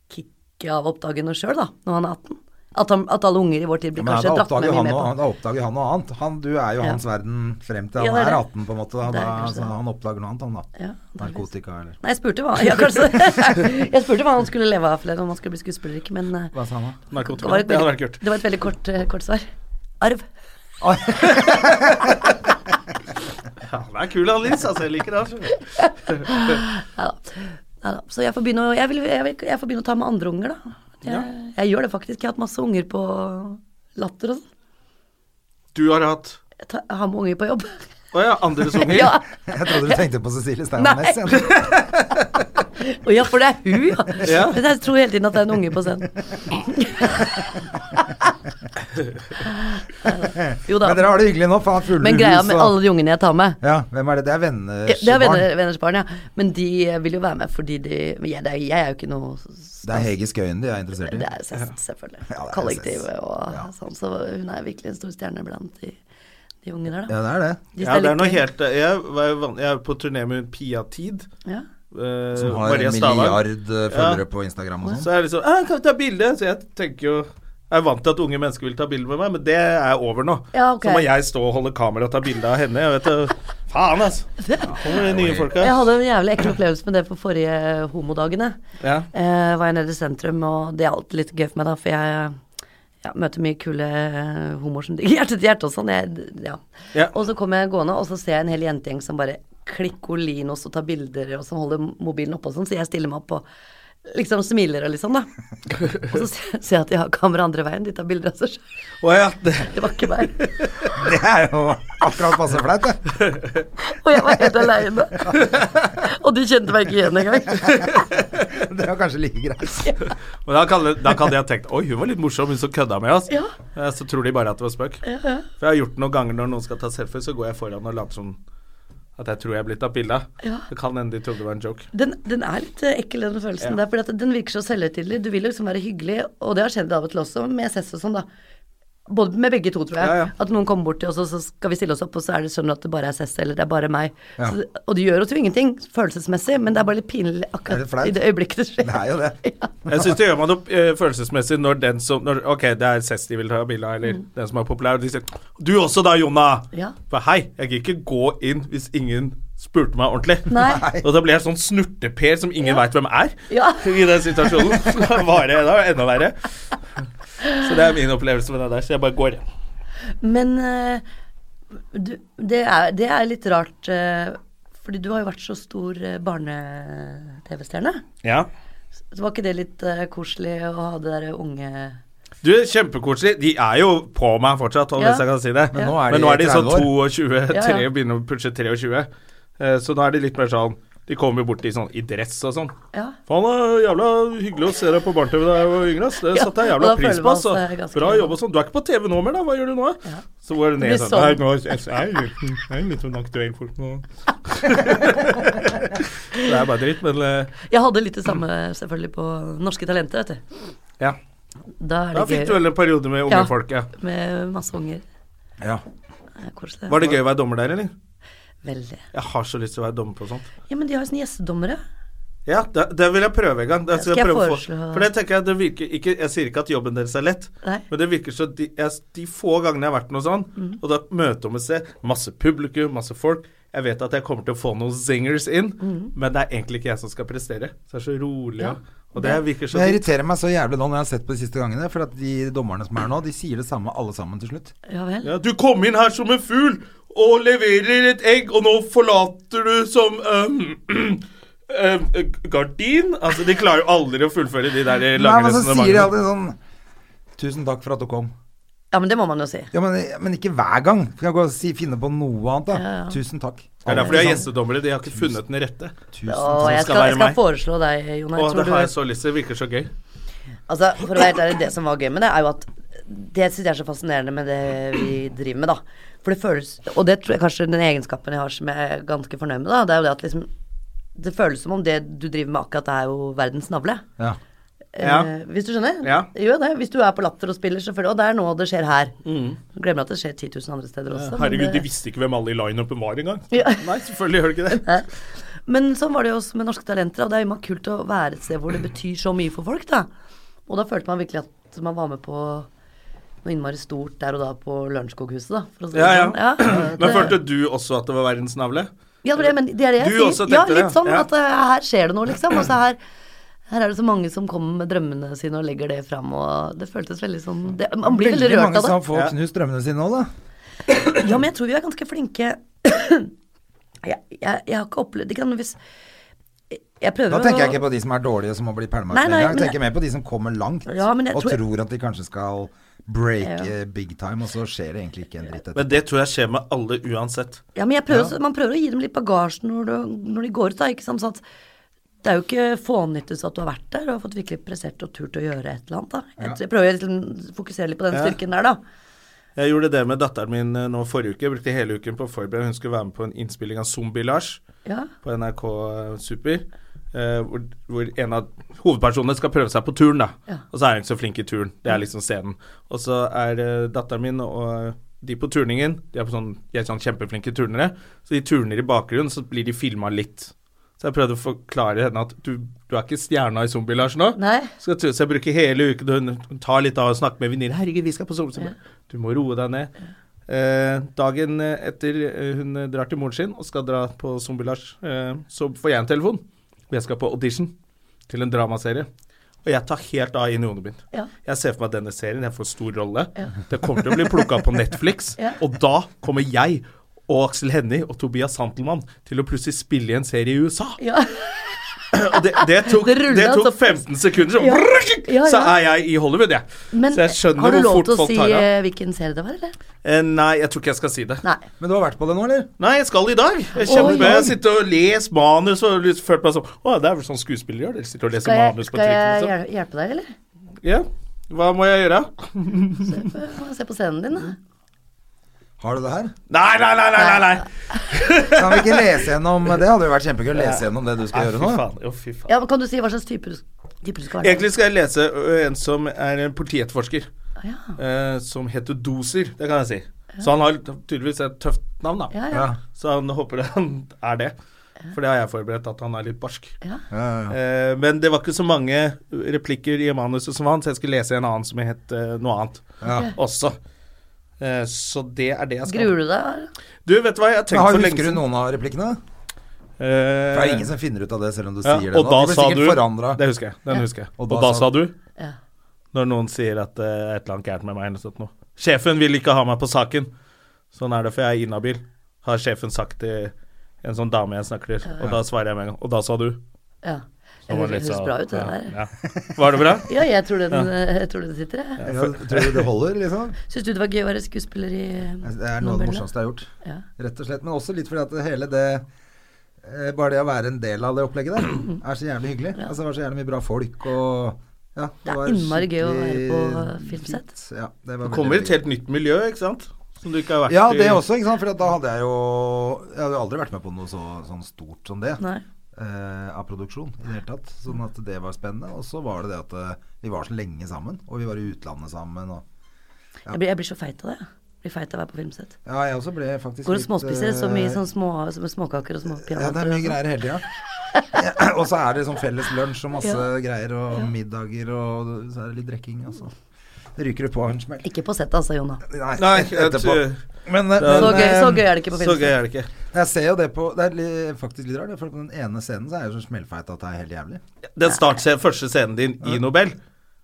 kicket av å oppdage noe sjøl, da, når han er 18. At, han, at alle unger i vår tid blir
Men da
kanskje dratt
oppdager
med
jo
mye
han,
mer på.
noe- da oppdager han noe annet. Han, du er jo
Ja.
hans verden frem til
Ja,
han
det er
er
det.
18, på en måte. Da,
Det er
da,
kanskje
så
det.
han oppdager noe annet, han da.
Ja, det er litt-
Narkotika eller
Nei, jeg spurte hva [laughs] ja, kanskje. [laughs] Jeg spurte hva han skulle leve av, eller om han skulle bli skuespiller eller ikke, men eh,
Hva sa han da?
det
Narkotika.
var et
Det hadde vært
veldig,
kult.
det var et veldig kort, eh, kort svar. Arv.
Ja, han er kul, han Nils. Altså, jeg liker han. skjønner du.
Neida. Neida. Så jeg får, begynne å, jeg, vil, jeg, vil, jeg får begynne å ta med andre unger, da. Jeg, jeg gjør det faktisk. Jeg har hatt masse unger på latter og sånn.
Du har hatt
Jeg, tar, jeg har med unger på jobb. [laughs]
Å ja, andres unger.
ja.
[laughs] Jeg trodde du tenkte på Cecilie
Nei.
Steinarnes. igjen.
Å ja, for det er hun, ja.
Ja.
[laughs] Men jeg tror hele tiden at det er en unge på
[laughs]
scenen. Neida. jo da.
Men dere har det hyggelig nå, for han har fulle
Men greia
hus,
med
og-
alle de ungene jeg tar med
Ja, hvem er det? Det er venners
Det er
barn.
venner, venners barn, ja. Men de vil jo være med fordi de Jeg, det er, jeg er jo ikke noe
Det er Hege Skøyen de er interessert i.
Det er Sess, selvfølgelig.
Ja, det er
Kollektivet
Sess.
og
Ja.
sånn. Så hun er virkelig en stor stjerne blant de, de unge der, da.
Ja, det er det.
De
Ja, det er noe
litt-
helt Jeg, var jo van- jeg er på turné med Pia Tid.
ja.
eh,
Som har
Maria
en
Stavang.
milliard eh, følgere
Ja.
på Instagram og sånn.
Så er det liksom «Ah, Kan vi ta bilde? Så jeg tenker jo «Ah, Jeg er vant til at unge mennesker vil ta bilde med meg, men det er over nå.
Ja, ok.
Så må jeg stå og holde kamera og ta bilde av henne. Jeg vet det. Faen,
[laughs]
altså. Kommer de nye folka.
Jeg hadde en jævlig ekkel opplevelse med det på forrige homodagene.
Ja.
Eh, var jeg nede i sentrum, og det er alltid litt gøy for meg, da, for jeg ja, møter mye kule eh, homoer som digger hjerte til hjerte og sånn. Jeg, ja.
Ja.
Og så kommer jeg gående, og så ser jeg en hel jentegjeng som bare klikker linos og tar bilder, og som holder mobilen oppe og sånn, så jeg stiller meg opp og liksom smiler og litt sånn, da. Og så ser ser jeg at de har kamera andre veien, de tar bilder av seg sjøl.
Å ja, det,
Det var ikke meg.
[laughs] det er jo akkurat passe flaut, det.
Og jeg var helt aleine. Og de kjente meg ikke igjen engang.
Det var kanskje like
[laughs]
greit.
Men da kan, da kan jeg ha tenkt Oi, hun var litt morsom, hun som kødda med oss.
Ja.
Eh, Så tror de bare at det var spøk. For jeg har gjort det noen ganger når noen skal ta selfie, så går jeg foran og later som at jeg tror jeg er blitt tatt bilde av.
Ja.
Det kan hende de trodde det var en joke.
Den, den er litt eh, ekkel, den følelsen
Ja.
der. For den virker så selvhøytidelig. Du vil jo liksom være hyggelig, og det har skjedd av og til også med SS og sånn, da. Både med begge to, tror jeg.
Ja, ja.
At noen kommer bort til oss, og så skal vi stille oss opp, og så er det sånn at det bare er SS, eller det er bare meg. Så, det- og det gjør oss jo ingenting følelsesmessig, men det er bare litt pinlig
Er det
akkurat
flaut?
i det øyeblikket det skjer.
Det er jo det.
[laughs] Ja.
Jeg syns det gjør man opp eh, følelsesmessig når den som når, Ok, det er Cess de vil ta bilde av, eller den som er populær, og de sier Du også da, Jonna!
Mm. Ja.
For hei, jeg gikk ikke gå inn hvis ingen spurte meg ordentlig.
Nei.
Og da blir jeg sånn snurteper som ingen veit hvem er,
Ja.
i den
[laughs]
situasjonen. Så da var det da var det enda verre. Så det er min opplevelse med det der, så jeg bare går.
Men eh, du, det, er, det er litt rart, eh, fordi du har jo vært så stor eh, barne-TV-stjerne.
Ja.
Så var ikke det litt eh, koselig å ha det derre unge
Du, kjempekoselig. De er jo på meg fortsatt, om
Ja.
hvis jeg kan si det.
Men nå er de
de sånn
30 år.
22,
Ja, ja.
3, begynner å pushe 23. Eh, Så da er de litt mer sånn De kommer jo bort i sånn i dress og sånn.
Ja.
Faen, det er jævla hyggelig å se deg på barne-TV da jeg var yngre. ass. Det
Ja,
satte jeg
og
jævla
da
pris
føler
på.
man
ass.
seg ganske
Bra
gammel.
jobb og sånn. Du er ikke på TV nå mer, da. Hva gjør du nå?
Ja.
Så går det ned
blir
sånn.
sånn.
Nei,
[laughs]
nå er jeg jo jeg er jo litt sånn aktuell folk nå. det er bare dritt, men eh,
Jeg hadde litt det samme selvfølgelig på Norske Talenter, vet du.
ja.
Da er
Da
det
fikk du
gøy
vel en periode med unge
Ja.
folk, ja.
med masse unger.
Ja.
Det er Koselig.
Var det gøy å være dommer der, eller?
Veldig.
Jeg har så lyst til å være dommer på sånt.
Ja, men de har jo sånne gjestedommere.
Ja, det, det vil jeg prøve en gang. Det
Skal jeg
prøve å få-
foreslå-
For det tenker jeg, det virker ikke Jeg sier ikke at jobben deres er lett,
Nei.
men det virker så De, jeg, de få gangene jeg har vært noe sånn,
Mm.
og da møterommet ser masse publikum, masse folk Jeg vet at jeg kommer til å få noen zingers inn,
Mm.
men det er egentlig ikke jeg som skal prestere. Så det er så rolig,
Ja.
og- og det virker så
Det
digg.
irriterer meg så jævlig nå når jeg har sett på de siste gangene, for at de dommerne som er nå, de sier det samme alle sammen til slutt.
Ja vel.
Ja, du kom inn her som en fugl og leverer et egg, og nå forlater du som øhm, [clears throat] øhm, gardin Altså, de klarer jo aldri å fullføre de der
Nei,
lange
men så sier de
resonnementene.
alltid sånn Tusen takk for at du kom.
Ja, men det må man jo si.
Ja, men, men ikke hver gang. Kan jeg gå og si, finne på noe annet, da.
Ja, ja.
Tusen takk.
Det er derfor de er
Sånn,
gjestedommere. De har ikke funnet den rette.
Tusen
Å,
takk.
som
jeg
skal
skal,
være
jeg skal
meg.
foreslå deg, Jon
Å,
Arne.
det
Tror
har jeg
du
så lyst til. Det virker så gøy.
Altså, for å være helt ærlig, det som var gøy med det, er jo at Det syns jeg er så fascinerende med det vi driver med, da. For det føles Og det tror jeg kanskje den egenskapen jeg har som jeg er ganske fornøyd med, da, det er jo det at liksom Det føles som om det du driver med akkurat, er jo verdens navle.
Ja.
Ja.
Eh, hvis du skjønner?
Ja.
Jo, det. Hvis du er på Latter og spiller, selvfølgelig. Og det er nå det skjer her. Du Glemmer at det skjer 10 000 andre steder også.
Herregud, de
men, det-
visste ikke hvem alle i lineupen var engang.
Sånn, eh, Ja.
Nei, selvfølgelig gjør de
[laughs]
ikke det.
Hæ? men sånn var det jo også med Norske Talenter, og det er jo kult å være et sted hvor det betyr så mye for folk, da. Og da følte man virkelig at man var med på noe innmari stort der og da på Lørenskoghuset, da. For å si det
Ja, ja.
sånn.
[clears throat]
ja.
Men
det-
følte du også at det var verdens navle?
Ja, det, er det- men det er det jeg
Du
sier.
også
ja,
tenkte
litt
det,
sånn
ja.
at eh, her skjer det noe, liksom. Og så her, her er det så mange som kommer med drømmene sine og legger det fram, og det føltes veldig sånn det, Man blir veldig rørt av
mange
det.
som får
Ja.
knust drømmene sine nå, da.
Ja, men jeg tror vi er ganske flinke [clears throat] jeg, jeg, jeg har ikke opplevd det kan, hvis, jeg prøver
Da tenker jeg
å-
ikke på de som er dårlige som må bli pælma ut
Nei,
med
nei,
en gang. Jeg
men-
tenker mer på de som kommer langt
Ja, men jeg
og
tror-
tror at de kanskje skal break
Ja.
eh, big time, og så skjer det egentlig ikke en dritt etter.
Men det tror jeg skjer med alle uansett.
ja, men jeg prøver, Man prøver å gi dem litt bagasje når, du, når de går ut, da. Ikke sant? Sånn at det er jo ikke fånyttes at du har vært der og har fått virkelig prestert og turt å gjøre et eller annet. Da. Jeg, jeg prøver å liksom fokusere litt på den
Ja.
styrken der, da.
Jeg gjorde det med datteren min eh, nå forrige uke. Jeg brukte hele uken på å forberede. Hun skulle være med på en innspilling av Zombie-Lars.
Ja.
på NRK Super. eh, hvor, hvor en av hovedpersonene skal prøve seg på turn, da.
Ja.
Og så er han ikke så flink i turn. Det er liksom scenen. Og så er eh, datteren min og de på turningen De er, på sånn, de er sånn kjempeflinke turnere. Så de turner i bakgrunnen, så blir de filma litt. Så jeg prøvde å forklare henne at du, du er ikke stjerna i Zombie-Lars nå.
Nei.
Så jeg, tror- så jeg bruker hele uken Hun hun tar litt av og snakker med venninner. 'Herregud, vi skal på solsommer.' Du må roe deg ned. Eh, dagen etter eh, hun eh, drar til moren sin og skal dra på Zombie-Lars, eh, så får jeg en telefon. Og jeg skal på audition til en dramaserie. Og jeg tar helt av inn i hodet mitt.
Ja.
Jeg ser for meg denne serien, jeg får stor rolle. Det kommer til å bli plukka på Netflix.
Ja.
Og da kommer jeg og Aksel Hennie og Tobias Santelmann til å plutselig spille i en serie i USA.
Ja.
Og det, det tok,
Det
det
rullet,
tok
altså.
15 sekunder, så,
Ja. Ja, ja.
så er jeg i Hollywood, jeg.
Men
så jeg skjønner
har du
hvor
lov
fort
til å
folk
si
tar av.
eh, hvilken serie det var, eller?
Eh, nei, jeg tror ikke jeg skal si det.
Nei.
Men du har vært på det nå, eller?
Nei, jeg skal i dag. Jeg
Oi,
kjemper.
oi.
Jeg sitter og leser manus og liksom følt meg sånn Å, det er vel sånn skuespillere gjør. Dere sitter og leser
Skal jeg,
manus på
skal jeg
trikken og sånn.
hjel- hjelpe deg, eller?
Ja. Hva må jeg gjøre?
Se på, se på scenen din, da.
Har du det her?
Nei, nei, nei, nei, nei. nei.
Kan vi ikke lese gjennom
[laughs]
Det hadde jo vært kjempegøy å lese gjennom det du skal
Nei,
gjøre
fy
nå. da.
faen. Jo, fy faen.
Ja, men Kan du si hva slags type du, type du skal være?
Egentlig skal jeg lese ø, en som er en politietterforsker,
Ah, Ja.
eh, som heter Doser. Det kan jeg si. Så han har tydeligvis et tøft navn, da.
Ja, ja.
Ja,
Så han håper han er det. For det har jeg forberedt, at han er litt barsk.
ja.
ja, ja.
Eh, men det var ikke så mange replikker i manuset som han, så jeg skulle lese en annen som het eh, noe annet
ja.
også. Eh, så det er det jeg skal.
Gruer du deg?
Du, vet du hva, jeg har
Men
tenkt
har,
for lenge
husker du
siden
noen av replikkene?
Eh,
For Det er ingen som finner ut av det, selv om du
ja,
sier det
og da
De blir
sa
sikkert
du
forandret.
Det husker jeg. Den
Ja.
husker jeg.
Og
Og
da
da,
sa-
sa du
Ja.
når noen sier at eh, et eller annet gærent med meg eller sånt noe. Sjefen vil ikke ha meg på saken. Sånn er det, for jeg er inhabil, har sjefen sagt til en sånn dame jeg snakker til. Og da svarer jeg med en gang. Og da sa du.
ja.
Så
Det
var det
høres
litt
høres
sånn-
bra ut, det der.
ja, Ja. Var det bra?
[laughs]
Ja, jeg tror den, eh, jeg tror den sitter, jeg.
Ja, tror du
[laughs]
det holder, liksom? Altså,
Syns du det var gøy å være skuespiller i
Det er noe av det morsomste jeg har gjort.
Ja.
Rett og slett. Men også litt fordi at hele det eh, Bare det å være en del av det opplegget der,
Mm.
er så jævlig hyggelig. Altså, det var så jævlig mye bra folk og ja,
Det er
var
innmari gøy å være på eh,
skikkelig
filmsett.
fint. Ja, det var
Det kommer i
veldig
et helt nytt miljø, ikke sant? Som du ikke har vært
Ja, det
i.
også, ikke sant. For da hadde jeg jo Jeg hadde jo aldri vært med på noe så, sånn stort som det.
Nei.
eh, av produksjon i det hele tatt. Sånn at det var spennende. Og så var det det at eh, vi var så lenge sammen. Og vi var i utlandet sammen. Og
Jeg blir, jeg blir så feit av det. Jeg blir feit av å være på filmsett.
ja, jeg også ble faktisk
Går og småspiser så mye
eh,
sånn små, som småkaker og små
[laughs] Ja, det
peanøtter.
er mye
og sånn.
greier hele tida. Ja, [laughs] og så er det sånn felles lunsj og masse greier og middager og så er det litt drikking. og så ryker du på en smell.
Ikke på settet altså, Jonna.
Nei,
Nei, jeg
etterpå.
tror-
Men, eh,
Så
Så
men,
gøy,
eh,
så gøy er det ikke på
så gøy
filmsett.
er det ikke.
Jeg ser jo det på Det er li- faktisk litt rart. For på den ene scenen så er jeg så smellfeit at det er helt jævlig.
Den startscenen, første scenen din i Nobel,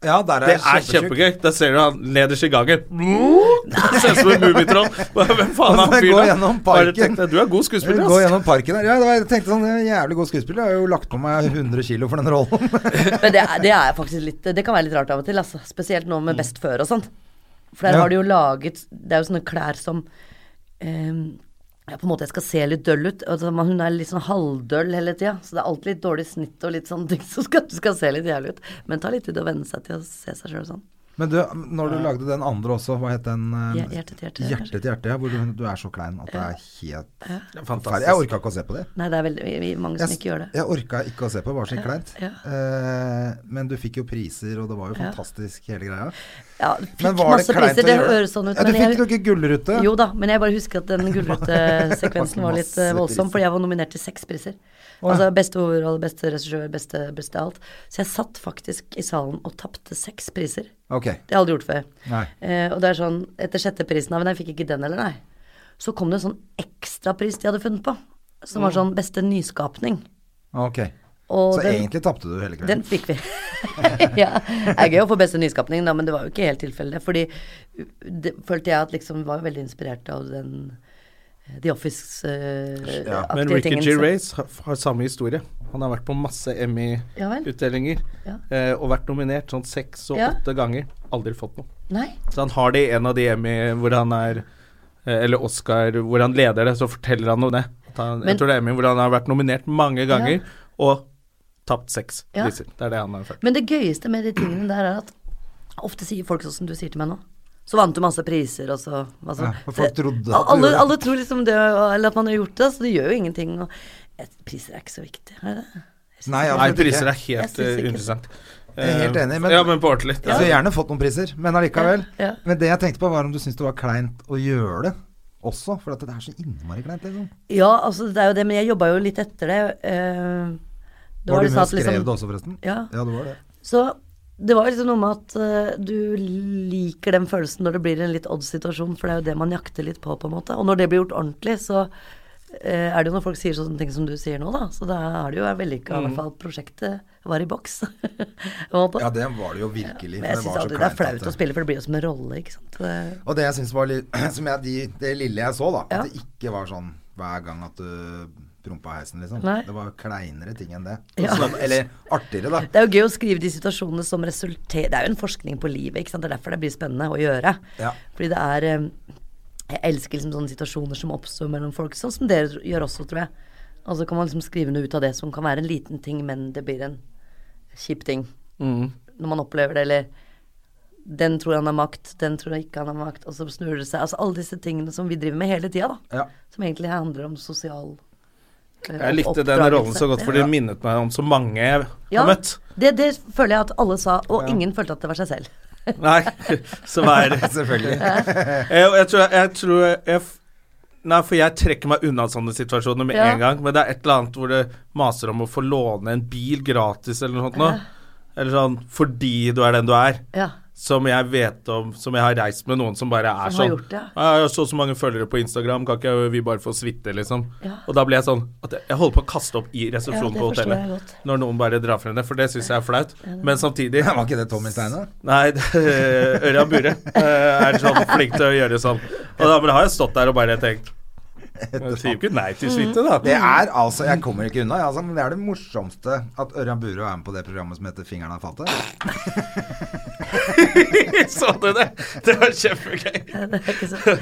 Ja, der
det
er
er
jeg kjempetjukk.
kjempegøy. Da ser du han nederst i
[laughs]
gangen. Det Ser ut som en mummitroll. Hvem faen er
Og så
han
går
fyren?
gjennom
Bare
parken.
tenkte jeg, Du er god
Jeg
skuespiller,
vil Gå
ass.
gjennom parken her. Ja, det var, jeg tenkte sånn jeg er en Jævlig god skuespiller. Jeg har jo lagt på meg 100 kilo for den rollen. [laughs]
Men det er, det er faktisk litt Det kan være litt rart av og til, altså. Spesielt nå med Best før og sånt. For der
Mm. Ja.
har de jo laget Det er jo sånne klær som ehm, ja, på en måte jeg skal se litt døll ut. Altså, man- hun er litt sånn halvdøll hele tida. Så det er alltid litt dårlig snitt og litt sånne ting som skal, skal se litt jævlig ut. Men ta litt tid å venne seg til å se seg sjøl sånn.
Men du, når du lagde den andre også, hva het den? eh,
Hjer- Hjerte til hjerte.
Hjerte til hjerte, ja, hvor du, du er så klein at det er helt ferdig.
Fantastisk.
Jeg orka ikke å se på det.
Nei, det er veldig vi- vi- mange som ikke gjør det.
Jeg orka ikke å se på, det var så kleint.
Ja.
Eh, men du fikk jo priser, og det var jo fantastisk hele greia.
Ja, fikk
Men var
masse priser, det høres sånn ut.
Ja, du
men
fikk
jeg-
jo ikke gullrute.
Jo da, men jeg bare husker
[laughs]
at den gullrutesekvensen var litt eh,
Masse
voldsom,
priser.
fordi jeg var nominert til seks priser.
Å,
Altså
ja.
beste overhold, beste regissør, beste, beste alt. Så jeg satt faktisk i salen og tapte seks priser.
Ok.
Det har jeg aldri gjort før.
Nei.
Eh, og det er sånn, etter sjette prisen, nei, men jeg fikk ikke den heller, nei. Så kom det en sånn ekstrapris de hadde funnet på, som var sånn beste nyskapning.
Ok.
Og
Så
den,
egentlig tapte du hele kvelden.
den fikk vi. [laughs] ja. Det er gøy å få beste nyskapning, da, men det var jo ikke helt tilfellet. Fordi det, følte jeg at liksom var veldig inspirert av den eh, The Office-aktige
Ja.
Men Ricky
tingen. så-
Gervais har, har samme historie. Han har vært på masse
Ja vel.
Emmy-utdelinger
Ja.
eh, og vært nominert sånn seks og
Ja.
åtte ganger. Aldri fått noe.
Nei.
Så han har det i en av de Emmy hvor han er eh, Eller Oscar hvor han leder det, så forteller han om det. At han,
Men-
jeg tror det er Emmy hvor han har vært nominert mange ganger og tapt seks
Ja.
priser. Det er det han har følt.
Men det gøyeste med de tingene der er at ofte sier folk sånn som du sier til meg nå. Så vant du masse priser, og så altså,
Ja, og folk
det-
trodde at du
alle,
gjorde det.
alle tror liksom det, og- eller at man har gjort det, så det gjør jo ingenting. Og eh, priser er ikke så viktig, er det det? Jeg synes
Nei,
det-
absolutt
Nei,
ikke.
priser er
Jeg
helt
synes
eh,
ikke-
uinteressant.
Jeg er helt
Eh,
enig, men- Altså,
Ja, men på ordentlig.
Jeg skulle gjerne fått noen priser, men allikevel.
Ja, ja.
Men det jeg tenkte på, var om du syntes det var kleint å gjøre det. også, for at det er så innmari kleint, liksom.
Ja, altså det er jo det, men jeg jobba jo litt etter det. eh, det
Var,
det
du med og
at
skrev det
liksom-
også, forresten?
Ja.
ja, du var det.
Så det var liksom noe med at eh, du liker den følelsen når det blir en litt odd situasjon, for det er jo det man jakter litt på, på en måte. Og når det blir gjort ordentlig, så eh, er det jo når folk sier sånne ting som du sier nå, da. Så da er det jo vellykka, i hvert fall. Prosjektet var i boks. [laughs] på en måte.
Mm. Ja, det var det jo virkelig.
Men jeg
for
syns
var så
aldri det er
kleint altså. at
flaut å spille, for det blir jo som en rolle, ikke sant. Det-
Og det jeg syns var litt [clears throat] som jeg, de, Det lille jeg så, da.
Ja.
At det ikke var sånn hver gang at du prompa heisen, liksom.
Nei.
Det var kleinere ting enn det.
Ja.
Sånn, eller artigere, da.
Det er jo gøy å skrive de situasjonene som resulterer Det er jo en forskning på livet, ikke sant. Det er derfor det blir spennende å gjøre.
Ja.
Fordi det er eh, Jeg elsker liksom sånne situasjoner som oppstår mellom folk, sånn som dere gjør også, tror jeg. Og så kan man liksom skrive noe ut av det som kan være en liten ting, men det blir en kjip ting.
Mm.
Når man opplever det, eller Den tror han har makt, den tror ikke han har makt, og så snur det seg. Altså alle disse tingene som vi driver med hele tida, da.
Ja.
Som egentlig handler om sosial eh,
Jeg likte den
oppdragelse.
rollen så godt, for den minnet meg om så mange jeg
Ja,
har møtt.
det, det føler jeg at alle sa, og
Ja.
ingen følte at det var seg selv.
Nei, [laughs] så hva er det?
[laughs] Selvfølgelig.
Jeg, jeg tror, jeg, tror jeg, f- Nei, for jeg trekker meg unna sånne situasjoner med
Ja.
en gang. Men det er et eller annet hvor det maser om å få låne en bil gratis eller noe sånt nå. Eller sånn fordi du er den du er.
[laughs] Ja.
Som jeg vet om Som jeg har reist med noen som bare er
Som har
sånn.
gjort det,
Ja, Jeg har så og så mange følgere på Instagram, kan ikke vi bare få suite, liksom?
Ja.
Og da ble jeg sånn at jeg- jeg holder på å kaste opp i
Ja,
resepsjonen
det
på
forstår jeg
hotellet.
godt.
Når noen bare drar frem det, for det syns jeg er flaut. Men samtidig
[laughs] Var ikke det Tommy Steine?
Nei, det- Ørjan Bure eh, er sånn flink til å gjøre sånn. Og da bare har jeg stått der og bare tenkt Jeg sier jo ikke nei til suite, da. [laughs]
Mm.
Det er altså Jeg kommer ikke unna, jeg, altså, men det er det morsomste at Ørjan Burøe er med på det programmet som heter 'Fingeren av fatet'.
Så du det? Det var kjempegøy.
Det er ikke så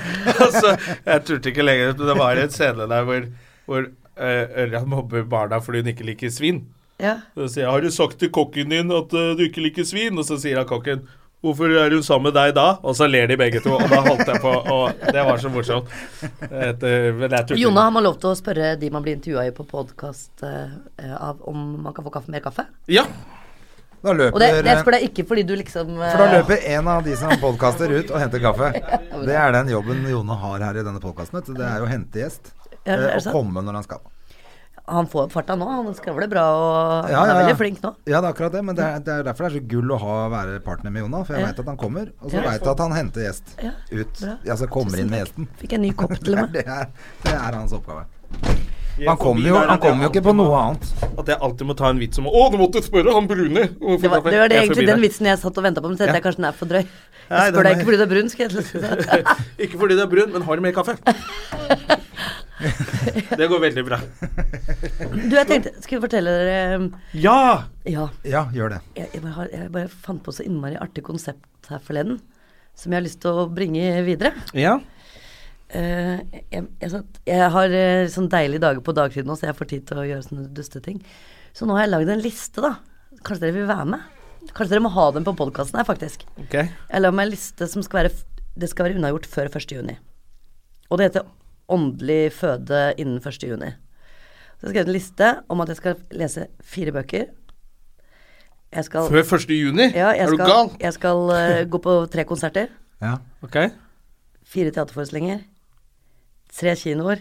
Altså, jeg turte ikke lenger, men det var en scene der hvor, hvor eh, Ørjan mobber barna fordi hun ikke liker svin.
Ja.
Så sier jeg 'Har du sagt til kokken din at eh, du ikke liker svin?' Og så sier han kokken 'Hvorfor er hun sammen med deg da?' Og så ler de begge to, og da holdt jeg på, og det var så morsomt. Et, eh, men jeg turte ikke.
Jonna, har man lov til å spørre de man blir intervjua i på podkast om man kan få kaffe, mer kaffe?
Ja.
Da løper,
Og det, det spør jeg ikke fordi du liksom eh,
for da løper en av de som podkaster ut og henter
[laughs]
kaffe. Det er den jobben Jone har her i denne podkasten. Det er jo å hente gjest.
Ja, er det
eh, Og
sant?
komme når han skal.
Han får opp farta nå, han skravler bra og
Ja,
han er
ja, ja.
veldig flink nå.
Ja, det er akkurat det. Men det er, det er derfor det er så gull å ha, være partner med Jona. For jeg
Ja.
vet veit at han kommer, og så
Ja.
vet veit jeg at han henter gjest
Ja,
ut.
bra.
Altså kommer
Tusen
inn med
takk.
gjesten.
Fikk en ny kopp til og
[laughs]
med.
Det er, det er hans oppgave. Han kommer jo, han kommer jo ikke på noe annet.
At jeg alltid må ta en vits om Å, du måtte spørre han brune!
Det var, det var det egentlig den vitsen jeg satt og venta på, men så tenkte jeg kanskje den er for drøy.
Nei,
Jeg spør
den
deg
er-
ikke fordi du er brun, skal
[laughs]
jeg til å si.
[laughs] Ikke fordi det er brun, men har du mer [laughs] kaffe? det går veldig bra.
Du, jeg tenkte Skal jeg fortelle dere um,
Ja!
Ja.
Ja, gjør det.
Jeg, jeg, bare, har- jeg bare fant på så innmari artig konsept her forleden som jeg har lyst til å bringe videre.
Ja.
Eh, jeg, jeg, satt, jeg har eh, sånn deilige dager på dagtid nå, så jeg får tid til å gjøre sånne dusteting. Så nå har jeg lagd en liste, da. Kanskje dere vil være med? Kanskje dere må ha den på podkasten her, faktisk.
Ok.
Jeg la meg en liste som skal være, f- det skal være unnagjort før 1. juni. Og det heter Åndelig føde innen 1. juni. Så jeg skrev en liste om at jeg skal lese fire bøker. Jeg skal,
Før 1. juni?
ja, jeg
er du
skal,
gal?
Jeg skal eh, gå på tre konserter.
Ja.
Ok.
Fire teaterforestillinger. Tre kinoer.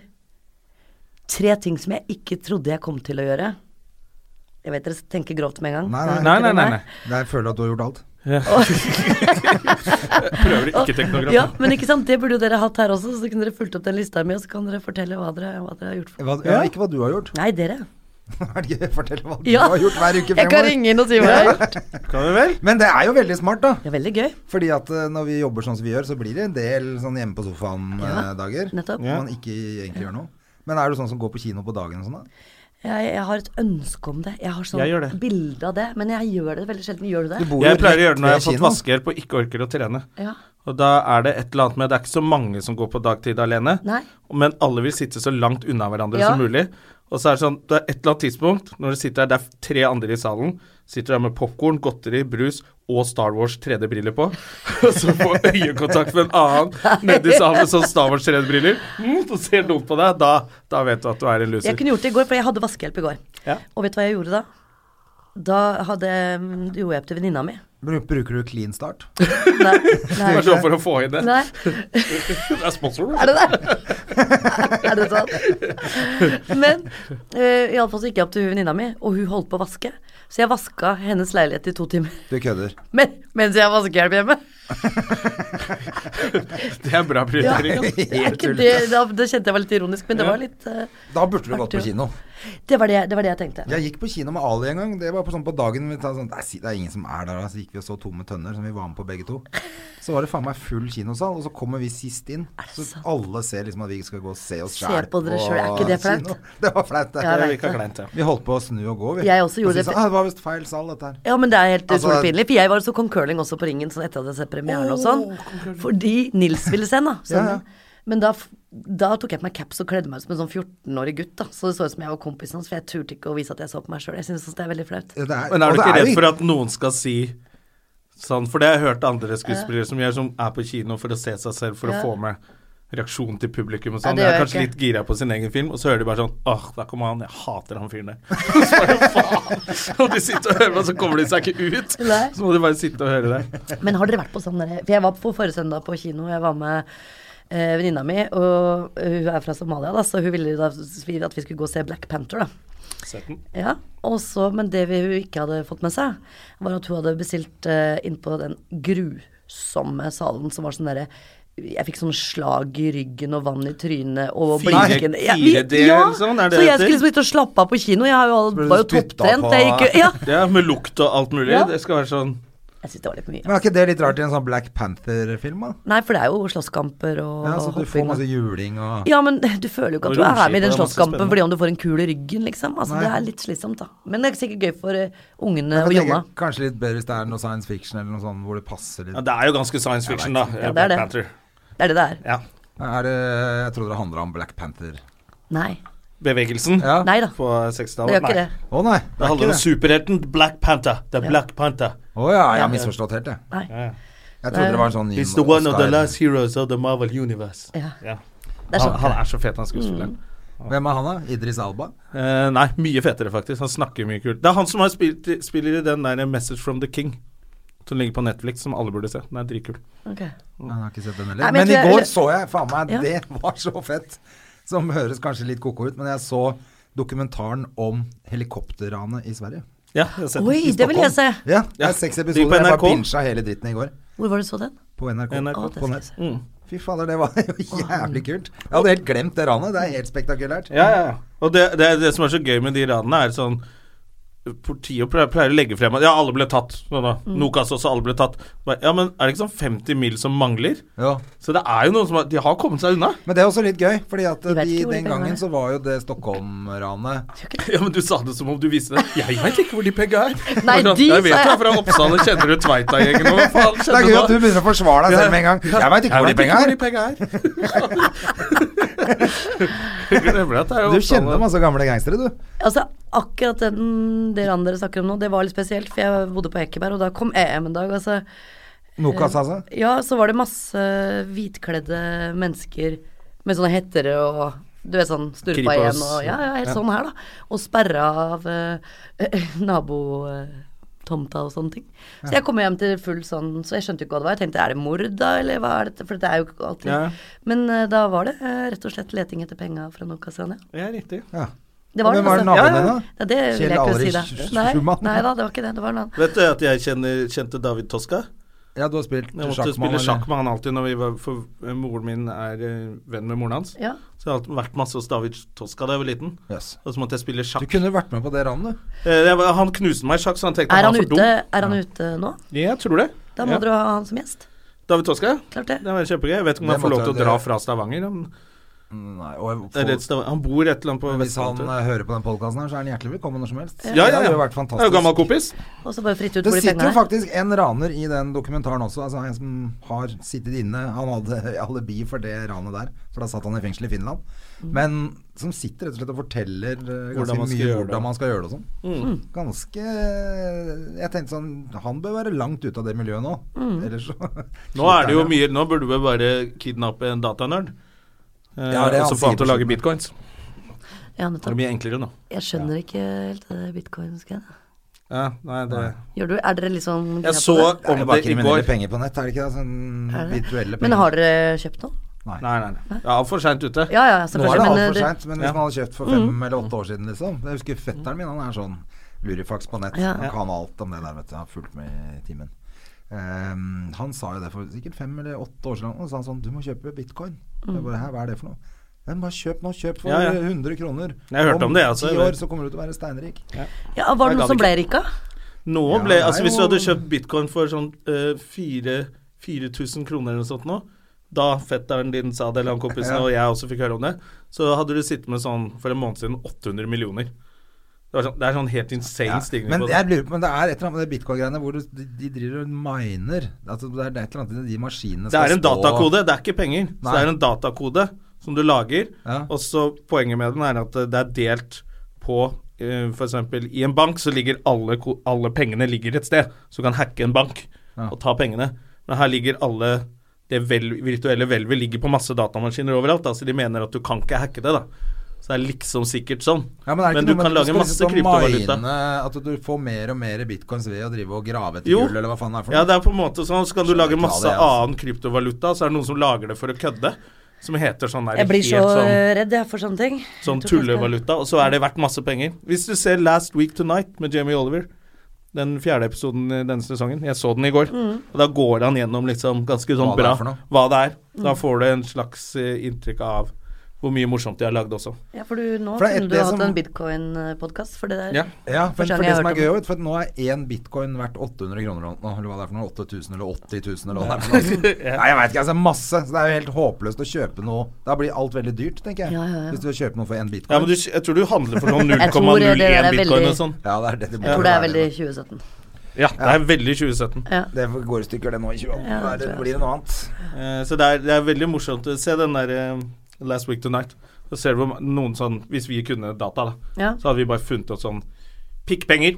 Tre ting som jeg ikke trodde jeg kom til å gjøre. Jeg vet dere tenker grovt med en gang.
Nei,
Nei,
Dere
nei,
vet ikke
nei.
hvem
nei.
jeg er.
Jeg føler at du har gjort alt.
Prøver ikke teknografi.
Ja, men ikke sant, det burde jo dere hatt her også, så kunne dere fulgt opp den lista mi, og så kan dere fortelle hva dere, hva dere har gjort. For.
Hva, ja, ikke hva du har gjort. [laughs]
Nei, dere.
Er det gøy? Fortell hva du
Ja.
har gjort hver uke
Jeg kan
fremover.
ringe inn og si hva jeg har gjort.
Kan vi vel?
Men det er jo veldig smart, da.
Det er veldig gøy.
Fordi at eh, når vi jobber sånn som vi gjør, så blir det en del sånn hjemme på
Ja,
sofaen-dager.
nettopp.
Hvor man ikke egentlig gjør noe. Men er du sånn som går på kino på dagen og sånn, da?
Jeg, jeg har et ønske om det. Jeg har sånn
Jeg gjør det.
bilde av det, men jeg gjør det veldig sjelden. Gjør
Du
du det?
bor jo
Jeg pleier å
rett
gjøre det når jeg har
ved
fått
kinoen.
vaskehjelp og ikke orker å trene.
Ja.
Og da er det et eller annet med Det er ikke så mange som går på dagtid alene,
Nei.
men alle vil sitte så langt unna hverandre
Ja.
som mulig. Og så er det sånn, det er et eller annet tidspunkt når du sitter der, det er tre andre i salen, sitter der med popkorn, godteri, brus og Star Wars 3D-briller på, [laughs] og så får øyekontakt med en annen nedi salen med sånn Star Wars 3D-briller, mm, og ser dumt på deg, da, da vet du at du er en
Jeg
loser.
kunne gjort det i går, for jeg hadde vaskehjelp i går.
Ja.
Og vet du hva jeg gjorde da? Da hadde, gjorde jeg opp til venninna mi.
Bru- Bruker du clean start?
[laughs]
Nei, nei,
Kanskje det var sånn for å få inn det.
nei.
Det er sponsoren.
Er det det? [laughs] Er det sant? Men eh, i alle fall så gikk jeg opp til hun venninna mi, og hun holdt på å vaske. Så jeg vaska hennes leilighet i to timer [laughs]
Du kødder.
men, mens jeg har vaskehjelp hjemme.
Det er en bra prioritering. altså.
Det, er ikke det, da, det kjente jeg var litt ironisk, men det
Ja.
var litt eh,
Da burde du gått
Artig,
på
ja.
kino.
det, var det, det var det jeg tenkte.
Jeg gikk på kino med Ali en gang. Det var på, sånn på dagen vi tar sånn, "Nei, si- Det er ingen som er der. da." Så gikk vi og så Tomme tønner, som vi var med på begge to. Så var det faen meg full kinosal, og så kommer vi sist inn. Så alle ser liksom at vi skal gå og se oss
Se
sjæl
på dere selv. Er ikke det flaut?
[laughs] Det var flaut, det.
Det
Ja, jeg vet
virka
det.
kleint, ja.
Vi holdt på å snu og gå, vi.
Jeg også
Og så
gjorde det.
sa, ah, det var visst feil sal, dette her.
Ja, men det er helt
Altså-
utrolig pinlig. For jeg var og så Kong Curling også på ringen sånn etter at jeg hadde sett premieren og sånn. Fordi Nils ville se den, da.
Ja, ja.
sønnen. Men da, f- da tok jeg på meg caps og kledde meg ut som en sånn 14-årig gutt. da Så det så ut som jeg var kompisen hans, for jeg turte ikke å vise at jeg så på meg sjøl. Jeg syns det er veldig flaut.
Ja, det er-
Men er
og
du
det
ikke
jo
redd
ikke-
for at noen skal si sånn For det har jeg hørt andre skuespillere som gjør, som er på kino for å se seg selv, for
Ja.
å få med reaksjonen til publikum og
Ja,
sånn.
det
jeg er
gjør jeg
kanskje
ikke.
litt gira på sin egen film, og så hører de bare sånn Åh, der kommer han. Jeg hater han
[laughs]
fyren der. Så bare, faen. Og de sitter og hører på, og så kommer de seg ikke ut.
Nei.
Så må de bare sitte og høre det.
Men har dere vært på sånn derre For jeg var på forrige søndag på kino, jeg var med eh, venninna mi, og hun er fra Somalia, da, så hun ville da vi- at vi skulle gå og se Black Panther, da.
Sett den.
Ja, og så, Men det vi- hun ikke hadde fått med seg, var at hun hadde bestilt eh, inn på den grusomme salen som var sånn derre jeg fikk sånn slag i ryggen og vann i trynet og
Fire-
blinken
fire D eller sånn, er det
Så jeg
det heter?
skulle liksom ut og slappe av på kino. Jeg har jo all-
ble du
var jo
spyttet
topptrent.
på.
Jeg gikk jo Ja!
Ja, med lukt og alt mulig.
Ja.
Det skal være sånn
Jeg syns det var litt mye.
Men er ikke det litt rart i en sånn Black Panther-film, da?
Nei, for det er jo slåsskamper og
Ja, så du får
hopping og
masse juling og
Ja, men [laughs] du føler jo
Og
ikke at du er
romskip, og det
med i den
er masse
slåsskampen
spennende.
fordi om du får en kul i ryggen, liksom. Altså,
Nei.
det er litt slitsomt, da. Men det er sikkert gøy for eh, ungene
Jeg
og Jonna.
tenker Kanskje litt bedre hvis det er noe science fiction eller noe sånt hvor det passer litt.
Ja, det er jo ganske science fiction, da.
Ja, det er
Black
det.
Panther.
Det er det det er.
Ja.
Er det, jeg trodde det handla om Black Panther.
Nei.
Bevegelsen
Ja.
Nei da.
på
Det
60-tallet.
gjør ikke det.
Å nei.
Det
er ikke
handler om superhelten Black Panther. Det er Black Panther.
Å ja, jeg har misforstått helt, jeg.
Nei.
Ja, ja.
Jeg trodde det var en sånn
He's the one of the
Oscar.
last heroes of the Marvel universe.
Ja.
Ja.
Det er
Han,
sånn.
han er så fet, han skuespilleren. Mm.
Hvem er han, da? Idris Alba?
Eh, nei, mye fetere, faktisk. Han snakker mye kult. Det er han som har spilt, spiller i den der Message from the King, som ligger på Netflix, som alle burde se. Den er dritkul.
Ok.
Jeg har ikke sett den heller.
Nei,
men
men jeg
i
tror
går
jeg-
så jeg faen meg
Ja.
Det var så fett! Som høres kanskje litt ko-ko ut, men jeg så dokumentaren om helikopterranet i Sverige.
Ja, jeg har sett den.
Oi, det vil jeg se.
Ja, det
Ja.
er seks
Det gikk på
episoder. Jeg bare
NRK.
pinsja hele dritten i går.
Hvor var det du så den?
På NRK.
NRK.
Å, det
På
skal
nett.
jeg se.
Mm.
Fy fader, det var [laughs] jo jævlig kult. Jeg hadde helt glemt det ranet. Det er helt spektakulært.
Ja, ja, ja. Og det, det, det som er så gøy med de radene, er sånn Politiet pleier, pleier å legge frem at ja, alle ble tatt. Sånn da.
Mm.
Nokas også, alle ble tatt. Bare, Ja, men er det ikke sånn 50 mil som mangler?
Ja.
Så det er jo noen som har De har kommet seg unna.
Men det er også litt gøy, fordi at
De vet
de,
ikke hvor de
den
pengene
gangen
er.
så var jo det Stockholm-ranet
[laughs] Ja, men du sa det som om du visste det. Jeg veit ikke hvor de pegga er.
Nei,
Hvordan-
de
jeg vet
sa
det er
jeg.
fra Oppsal og kjenner du Tveita-gjengen og hva faen
Det er gøy
skjedde
at
da?
du begynner å forsvare deg
Ja.
selv med en gang. Jeg veit ikke hvor de penga
Jeg
er.
vet ikke hvor de penga [laughs] er. Glemmer at det er
Du
Oppsal og-
kjenner masse gamle gangstere, du.
Altså, akkurat den dere andre snakker om nå, det var litt spesielt, for jeg bodde på Ekeberg, og da kom EM en dag, altså.
Nokas,
Eh,
altså.
Ja, så var det masse hvitkledde mennesker med sånne hettere og du vet sånn sturpa
Kripos.
igjen og ja, ja, helt sånn her, da. Og sperra av eh, [laughs] nabotomta og sånne ting. Så jeg kom hjem til full sånn, så jeg skjønte jo ikke hva det var. Jeg tenkte er det mord da, eller hva er dette? For det er jo ikke alltid
Ja.
Men eh, da var det eh, rett og slett leting etter penga fra Nokas-Rania.
Ja, riktig.
Ja.
Det
Og
var det,
hvem var
altså.
naboen din
ja,
da?
ja, det vil
Kjell
jeg ikke si
Alrich
det.
Sch-
Nei,
Schumann?
nei da, det var ikke det. Det var en annen.
Vet du at jeg kjenner, kjente David Toska?
ja, du har spilt
Jeg måtte
sjakkmann.
spille sjakk med han alltid når vi var For eh, moren min er eh, venn med moren hans.
Ja.
Så jeg har alltid vært masse hos David Toska da jeg var liten.
Yes.
Og så måtte jeg spille
Du
sjakk.
kunne vært med på det ranet, du.
Eh, jeg var- Han knuste meg i sjakk, så han tenkte
Er han,
var for
ute,
dum.
er han ute nå?
Ja, jeg tror det.
Da må
Ja.
dere ha han som gjest.
David Toska?
Klart det.
Det var kjempegøy. Jeg vet ikke om
Det
han får lov
måtte
til å
jeg-
dra
det-
fra Stavanger. Han,
Nei, og
eller et Stavanger. han bor et eller annet på
Hvis han
Vestlandet.
eh, hører på den podkasten her, så er han hjertelig velkommen når som helst.
Ja, ja,
Det
ja.
hadde jo
Det er
vært
jo
fantastisk.
gammel kompis.
Og så bare fritt ut
Det
hvor de
sitter jo
pengene er.
faktisk en raner i den dokumentaren også, altså en som har sittet inne. Han hadde [laughs] alibi for det ranet der, for da satt han i fengsel i Finland.
Mm.
Men som sitter rett og slett og forteller
Hvordan
eh, ganske
man skal
mye
gjøre det.
hvordan man skal gjøre det og sånn.
Mm.
Ganske Jeg tenkte sånn Han bør være langt ute av det miljøet nå.
Mm.
Ellers så
Nå er det jo mye Nå burde vi bare kidnappe en datanerd. Eh,
Ja, det er
og så
han
få han til å
sier på
lage
slutten.
bitcoins.
Ja,
Det er
nettopp.
mye enklere nå.
eh, Jeg skjønner ikke helt det bitcoin-greiene.
Ja, nei, det
Gjør du, er dere litt sånn gira
Jeg
på
så
det?
Det er
om
jo
det
bare
i
kriminelle
går.
penger på nett, er det ikke det? Sånn
Er det det?
virtuelle penger.
Men har dere kjøpt noe?
Nei.
Nei, nei. nei. Ja, for seint ute.
Ja, ja,
Nå er det
selvfølgelig. eh,
altfor
det-
seint, men hvis
Ja.
man hadde kjøpt for fem
Mm.
eller åtte år siden, liksom Jeg husker fetteren min, han er sånn lurifaks på nett.
Ja.
Han kan alt om det der, vet du. Han har fulgt med i timen. Ehm, han sa jo det for sikkert fem eller åtte år siden. Og så sa han sånn Du må kjøpe bitcoin. Jeg bare, Hæ, hva er det for noe? Men bare kjøp nå. Kjøp for
Ja, ja.
100 kroner.
Jeg hørte om det, altså.
ti år så kommer du til å være steinrik.
ja, var
Jeg ga
det noen som
det
ble rika?
Nå
Ja,
ble
det er
Altså, hvis du
jo-
hadde kjøpt bitcoin for sånn eh, fire- 4000 kroner eller noe sånt nå, da fetteren din sa det, eller han kompisen,
Ja.
og jeg også fikk høre om det, så hadde du sittet med sånn for en måned siden 800 millioner. Det, var sånn, det er sånn helt insane
Ja.
stigning
Men
på det.
jeg lurer på Men det er et eller annet med det bitcoin-greiene hvor du, de, de driver og miner. Altså, det er det er et eller annet i de maskinene
Det
skal
er en
spå-
datakode, det er ikke penger. Så
Nei.
det er en datakode som du lager,
Ja.
og så poenget med den er at det er delt på eh, for eksempel i en bank så ligger alle, ko- alle pengene ligger et sted, så du kan hacke en bank
Ja.
og ta pengene. Men her ligger alle det vel, virtuelle hvelvet ligger på masse datamaskiner overalt, da, så de mener at du kan ikke hacke det, da. Så det er liksom sikkert sånn.
Ja, men er
Men
det ikke
du kan
noe med at
lage
skal
masse
liksom
kryptovaluta.
mine, At du får mer og mer bitcoins ved å drive og grave etter
Jo.
gull, eller hva faen det er for
Ja,
noe.
det er på en måte sånn, så kan du
Skjønner
lage
ikke hva
masse
det er, altså.
annen kryptovaluta, så er det noen som lager det for å kødde. Som heter sånn der
Jeg blir så
helt sånn
eh, redd jeg for sånne ting.
Sånn
Jeg tror ikke jeg skal-
tullevaluta, og så er det verdt masse penger. Hvis du ser Last Week Tonight med Jamie Oliver, den fjerde episoden i denne sesongen, jeg så den i går,
Mm.
og da går han gjennom liksom ganske sånn
Hva det er
bra
for noe.
hva det er. Da
Mm.
får du en slags eh, inntrykk av hvor mye morsomt de har lagd også.
Ja, for du, nå
For det er
kunne
et-
du
det
hatt
som-
en bitcoin-podkast, for det
[laughs]
der
Ja.
Ja, for,
Første gang
for det
jeg
som
har
er
hørt
gøy, vet, du, for nå er én bitcoin verdt 800 kroner eller noe, eller hva det er for noe, 8000 eller 80 000 eller hva det er for noe. Nei, jeg veit ikke, altså masse. Så det er jo helt håpløst å kjøpe noe. Da blir alt veldig dyrt, tenker jeg.
Ja, ja, ja.
Hvis du vil kjøpe noe for én bitcoin.
ja, men du, jeg tror du handler for sånn
[laughs] Jeg tror det
0,01
der er
bitcoin
veldig-
og sånn.
Ja, det er det det må
Jeg tror det er
være,
veldig
det.
2017.
Ja, det er veldig 2017.
Ja.
Det går i stykker, det nå i 2018.
Ja,
Da er det
det tror jeg.
blir det noe annet.
Eh, Så det er, det er veldig morsomt. Se den der eh, Last Week Tonight. Så ser du hvor ma- noen sånn Hvis vi kunne data, da.
Ja.
Så hadde vi bare funnet opp sånn pikkpenger,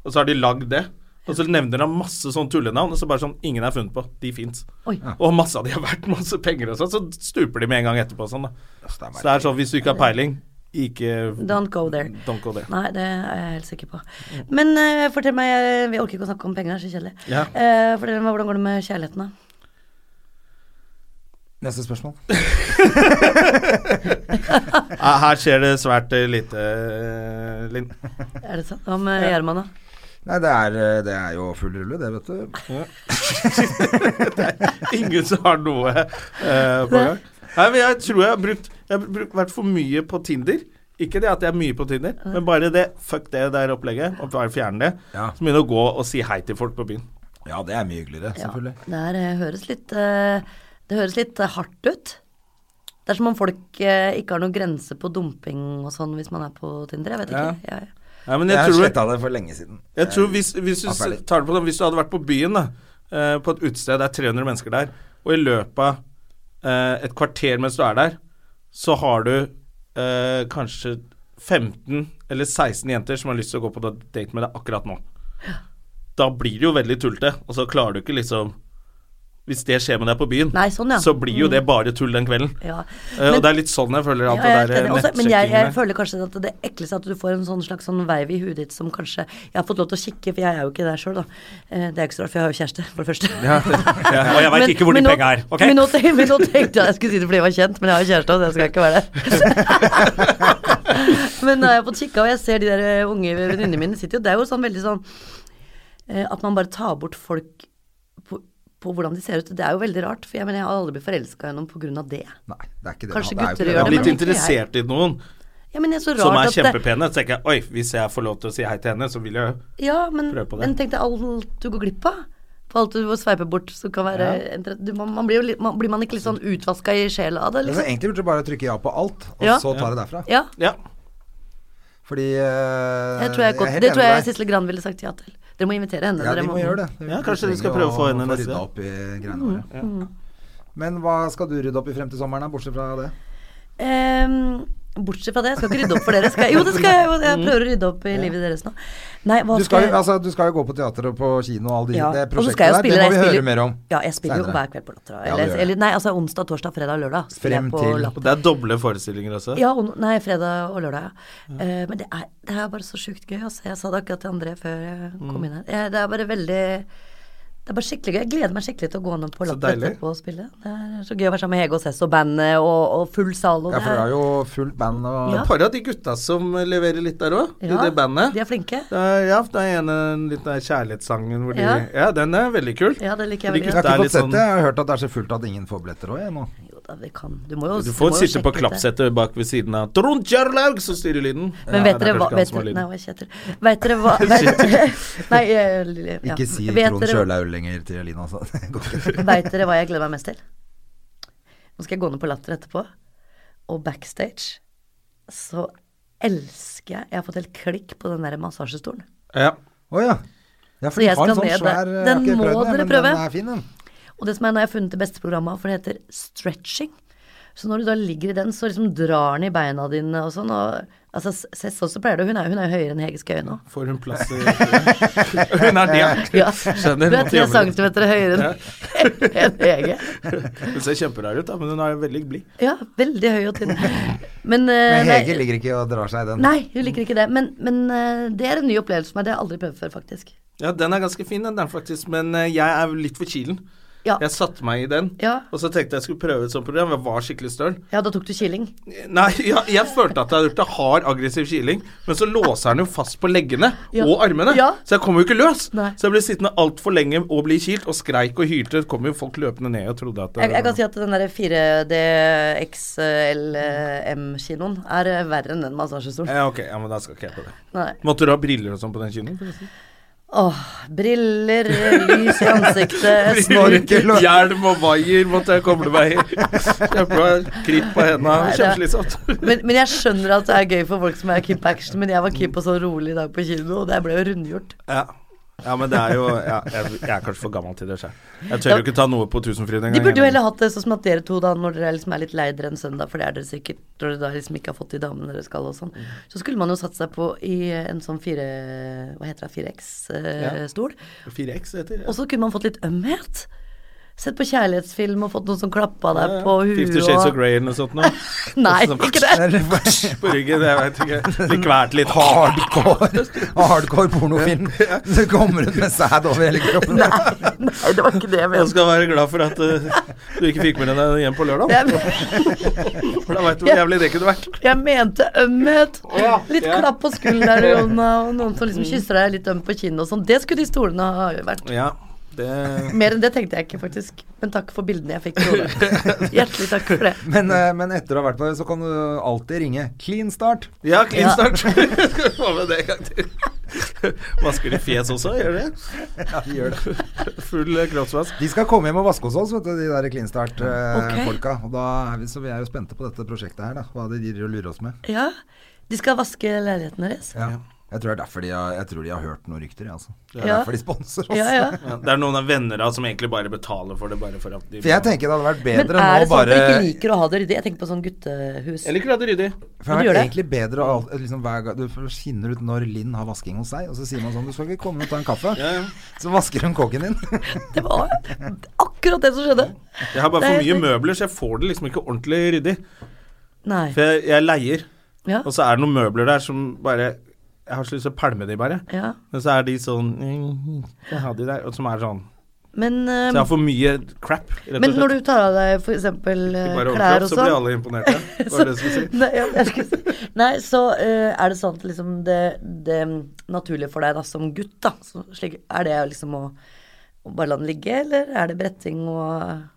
og så har de lagd det. Og så nevner han masse sånn tullenavn, og så bare sånn Ingen er funnet på. De fins.
Oi.
Og masse av de har vært [laughs] masse penger og sånn, så stuper de med en gang etterpå og sånn, da.
Altså,
Så
det er merkelig.
det er sånn hvis du ikke har peiling, ikke
Don't go there.
Don't go there.
Nei, det er jeg helt sikker på. Men eh, fortell meg eh, Vi orker ikke å snakke om penger, det er så kjedelig.
Ja.
Eh, fortell meg hvordan går det med kjærligheten, da?
Neste spørsmål.
Eh, Her skjer det svært eh, lite, eh, Linn.
Er det sant? Hva med Gjerman, da?
Nei, det er, eh, det er jo full rulle, det, vet du.
[laughs] Ingen som har noe eh, på gang. Nei, men jeg tror jeg har brukt Jeg har brukt, vært for mye på Tinder. Ikke det at jeg er mye på Tinder, men bare det fuck det der opplegget. Og bare fjerne det.
Ja.
Så begynne å gå og si hei til folk på byen.
Ja, det er mye hyggeligere, selvfølgelig.
Ja, det er, eh, høres litt eh, Det høres litt eh, hardt ut. Det er som om folk eh, ikke har noen grense på dumping og sånn hvis man er på Tinder. Jeg vet ikke. Ja, ja.
Nei, men
Jeg,
jeg
har
tror,
sletta det for lenge siden.
jeg
Eh,
tror hvis, hvis, du
Ja,
s-
ferdig.
tar det på den, hvis du hadde vært på byen, da, eh, på et utested, det er 300 mennesker der, og i løpet av eh, et kvarter mens du er der, så har du eh, kanskje 15 eller 16 jenter som har lyst til å gå på da- date med deg akkurat
[gasps]
nå. Da blir det jo veldig tullete, og så klarer du ikke liksom Hvis det skjer med deg på byen,
Nei, sånn, ja.
så blir jo det bare tull den kvelden.
Ja.
Eh,
Men-
og det er litt sånn jeg føler
Ja,
at
jeg
det
er
der
helt
eh,
enig. Også- men jeg, jeg
nettsjekkingene
føler kanskje at det ekleste er at du får en sånn slags sånn veiv i huet ditt som kanskje Jeg har fått lov til å kikke, for jeg er jo ikke der sjøl, da. Eh, Det er ikke så rart, for jeg har jo kjæreste, for det første.
[laughs] ja, Og jeg veit ikke hvor de
men nå-
penga er. Ok?
Men nå, tenk- [laughs] men nå tenkte jeg jeg skulle si det fordi jeg var kjent, men jeg har kjæreste, og det skal jeg ikke være der. [laughs] men nå har jeg fått kikka, og jeg ser de der eh, unge venninnene mine sitter jo Det er jo sånn veldig sånn eh, at man bare tar bort folk på, på hvordan de ser ut. Det er jo veldig rart, for jeg mener jeg har aldri blitt forelska i noen på grunn av det.
Eh, Nei, det er ikke det.
Kanskje
Det er jo
gutter
ikke
Jeg
gjør
har
det,
blitt
men ikke
interessert i noen
Ja, men det er så rart
som er
at det-
kjempepene. Så tenker jeg oi, hvis jeg får lov til å si hei til henne, så vil jeg
Ja, men,
Prøv på det.
men tenk deg alt du går glipp av. På alt du sveiper bort som kan være entre- du, man, man blir, jo litt, man, blir man ikke litt sånn utvaska i sjela av det?
Altså,
Liksom?
egentlig burde du bare trykke ja på alt, og
Ja.
så ta det derfra.
Ja.
Ja.
Fordi eh,
Jeg tror jeg, godt,
er helt
det
enig
tror
med
jeg
deg.
Sisle Gran ville sagt ja til. Dere må invitere henne.
Ja,
dere
de må gjøre det.
Ja, kanskje vi skal prøve å få henne neste
gang.
gang.
opp i greiene våre.
Mm,
Men hva skal du rydde opp i frem til sommeren, da, bortsett fra det?
Ehm, Bortsett fra det, jeg skal ikke rydde opp for dere. Skal jeg? Jo, det skal jeg. jo, Jeg prøver å rydde opp i livet deres nå. Nei, hva
Mm. Du
skal
skal, jo,
jeg
altså, du skal jo gå på teater og på kino og alle de,
Ja,
det
og så skal
prosjektet der. Det må vi
jeg jo spille- jeg spiller-
høre mer om.
Ja, jeg spiller jo
senere.
hver kveld på Latter.
Ja, du gjør
Eller,
det.
eller, nei, altså onsdag, torsdag, fredag, lørdag. spiller
Frem
jeg på
til-
Og
Latter.
det er doble forestillinger også.
Ja, on nei, fredag og lørdag, ja. Eh, men det er, det er bare så sjukt gøy. Altså. Jeg sa det akkurat til André før jeg kom inn her. Eh, det er bare veldig Det er bare skikkelig gøy. Jeg gleder meg skikkelig til å gå ned på
Så
Latter
deilig.
etterpå og spille. Det er så gøy å være sammen med Hege og Cess og bandet og, og full sal. Og
Ja, for
det
du
er-
har jo fullt band og
Ja.
Et par av de gutta som leverer litt der òg, i
Ja,
det bandet.
De er flinke.
Det er, ja, det er en, en liten der kjærlighetssangen hvor de
Ja.
Ja, den er veldig kul.
Ja, det liker
De gutta Det er
Jeg har
jeg veldig godt.
ikke
litt
fått sett
sånn-
det. Jeg har hørt at det er så fullt at ingen får billetter òg, jeg nå.
Jo da, vi kan. Du må jo
Du
altså, må
får
jo
sitte på
sjekke ut det.
klappsettet bak ved siden av Trond Kjærlaug, som styrer lyden.
Men
Ja, det
vet
er
dere
kanskje ikke
hva
han
vet
som har
dere, Nei,
lyden.
hva heter det? Vet dere hva vet, Nei, eh, ja.
Ikke si
Vet
Trond
dere-
Kjølaug lenger til Elina, altså. [laughs] Det går ikke.
Veit dere hva jeg gleder meg mest til? Nå skal jeg gå ned på Latter etterpå. Og backstage så elsker jeg Jeg har fått helt klikk på den der massasjestolen.
Ja.
Å ja. ja.
Så
For de
jeg
har en
skal
sånn
ned der.
svær eh, jeg har
Den
ikke
må
prøvd
dere
men
prøve.
Den er fin, den.
Og det som er, nå har jeg funnet det beste programmet, for det heter stretching. Så når du da ligger i den, så liksom drar den i beina dine og sånn. Og altså, Cess også pleier det. Hun er hun er jo høyere enn Hege Skøye
[laughs]
nå.
Får hun plass i Hun er det.
Ja.
Skjønner,
Du er
måtte
tre
jobbe litt.
centimeter høyere enn [laughs] enn Hege.
Hun ser kjemperar ut, da, men hun er veldig blid.
Ja, veldig høy og
[laughs]
tynn. Men, eh,
Men Hege
nei-
ligger ikke og drar seg i [laughs] den.
Nei,
Mm.
hun liker ikke det. Men, men eh, det er en ny opplevelse for meg. Det har jeg aldri prøvd før, faktisk.
Ja, den er ganske fin, den der, faktisk, men eh, jeg er litt for kilen.
Ja,
Jeg satte meg i den,
Ja.
og så tenkte jeg skulle prøve et sånt program. Jeg var skikkelig støl.
ja da tok du kiling.
Nei, [laughs] ja, jeg følte at jeg hadde gjort det hard aggressiv kiling, men så låser den jo fast på leggene
Ja.
og armene,
Ja.
så jeg kom jo ikke løs.
Nei.
Så jeg ble sittende altfor lenge og bli kilt, og skreik og hylte. Det kom jo folk løpende ned og trodde at det
Jeg, jeg kan si at den der 4DXLM-kinoen er eh, verre enn den massasjestolen.
Ja, ok, ja, men da skal ikke jeg på det.
Nei.
Måtte du ha briller og sånn på den kinoen? forresten?
Åh, briller, lys i
[laughs]
ansiktet, snork
Snorkel og-
Hjelm og vaier måtte jeg koble meg i. Kjempe kritt på henda.
Nei, det-
Kjempeslitsomt.
men, men jeg skjønner at det er gøy for folk som er keep action, men jeg var keep og så rolig i dag på kino, og det ble jo rundgjort.
Ja. ja, men det er jo ja, jeg, jeg er kanskje for gammel til det sjøl. Jeg tør
Ja.
jo ikke ta noe på Tusenfryd engang.
De burde jo
jeg.
heller hatt det sånn som at dere to, da, når dere liksom er litt lei dere en søndag, for det er dere sikkert når dere da liksom ikke har fått de damene dere skal og sånn,
Mm.
så skulle man jo satt seg på i en sånn fire Hva heter det, 4X-stol.
4X heter det.
Og så kunne man fått litt ømhet. Sett på kjærlighetsfilm og fått noen som
Ja,
klappa deg
ja.
på huet
Fifty Shades of Grey eller noe sånt nå.
Nei,
Sånn-
ikke det.
[laughs]
[laughs]
på ryggen, jeg vet ikke. Blir kvært litt hardt.
Hardcore, hardcore [laughs] pornofilm. Så kommer hun med sæd over hele kroppen.
Nei, nei, det var ikke det jeg
Og
mente.
skal være glad for at eh, du ikke fikk med deg hjem på lørdag.
Jeg,
For da veit du hvor jævlig det kunne vært.
jeg mente ømhet.
ja,
Litt
ja. Mm.
klapp på
[laughs]
skulderen, Jonna, og noen som liksom kysser deg litt øm på kinnet og sånn. Det skulle de stolene ha vært.
Ja, det
Mer enn det tenkte jeg ikke, faktisk. Men takk for bildene jeg fikk.
[laughs]
Frode. Hjertelig takk for det.
Men, eh, men etter å ha vært på det, så kan du alltid ringe Clean Start.
Ja, clean
Ja.
start. [laughs] Skal vi få med det en gang til. Vasker de fjes også? Gjør de det?
Ja, de gjør det.
Full eh, kroppsvask.
De skal komme hjem og vaske hos oss, vet du, de der Clean
Ok.
Start-folka. Og da er vi, så vi er jo spente på dette prosjektet her, da. Hva de driver og lurer oss med.
Ja, de skal vaske leiligheten deres.
Ja. Jeg tror det er derfor de har, jeg tror de har hørt noen rykter, jeg, altså. Det er
Ja.
derfor de sponser oss.
Ja, ja.
Ja, det er noen av venner av som egentlig bare betaler for det, bare for at de
For jeg tenker det hadde vært
Men er
bedre
det
nå
sånn at
bare
dere ikke liker å ha det ryddig? Jeg tenker på sånn guttehus.
Jeg liker at det er ryddig.
For det har
Men du
vært
gjør
egentlig bedre å alt- liksom, hver gang Du finner ut når Linn har vasking hos deg, og så sier man sånn Du skal ikke komme og ta en kaffe?
Ja, ja.
Så vasker hun kåken din. [laughs]
Det var akkurat det som skjedde.
Jeg har bare
Det
for
er
mye
helt-
møbler, så jeg får det liksom ikke ordentlig ryddig.
Nei.
For jeg, jeg leier,
Ja.
og så er det noen møbler der som bare Jeg har så lyst til å pælme de, bare.
ja.
Men så er de sånn mm, Jeg har de der, og som er sånn
Men,
Så
eh,
jeg har for mye crap, rett og slett.
men når du tar av deg f.eks.
Bare
klær
overkropp,
og
så blir
sånn
alle imponerte.
[laughs]
Det var det jeg skulle si.
Nei, ja, jeg skulle si- Nei, så eh, er det sånn at liksom det, det naturlige for deg da som gutt, da så slik, Er det liksom å, å bare la den ligge, eller er det bretting og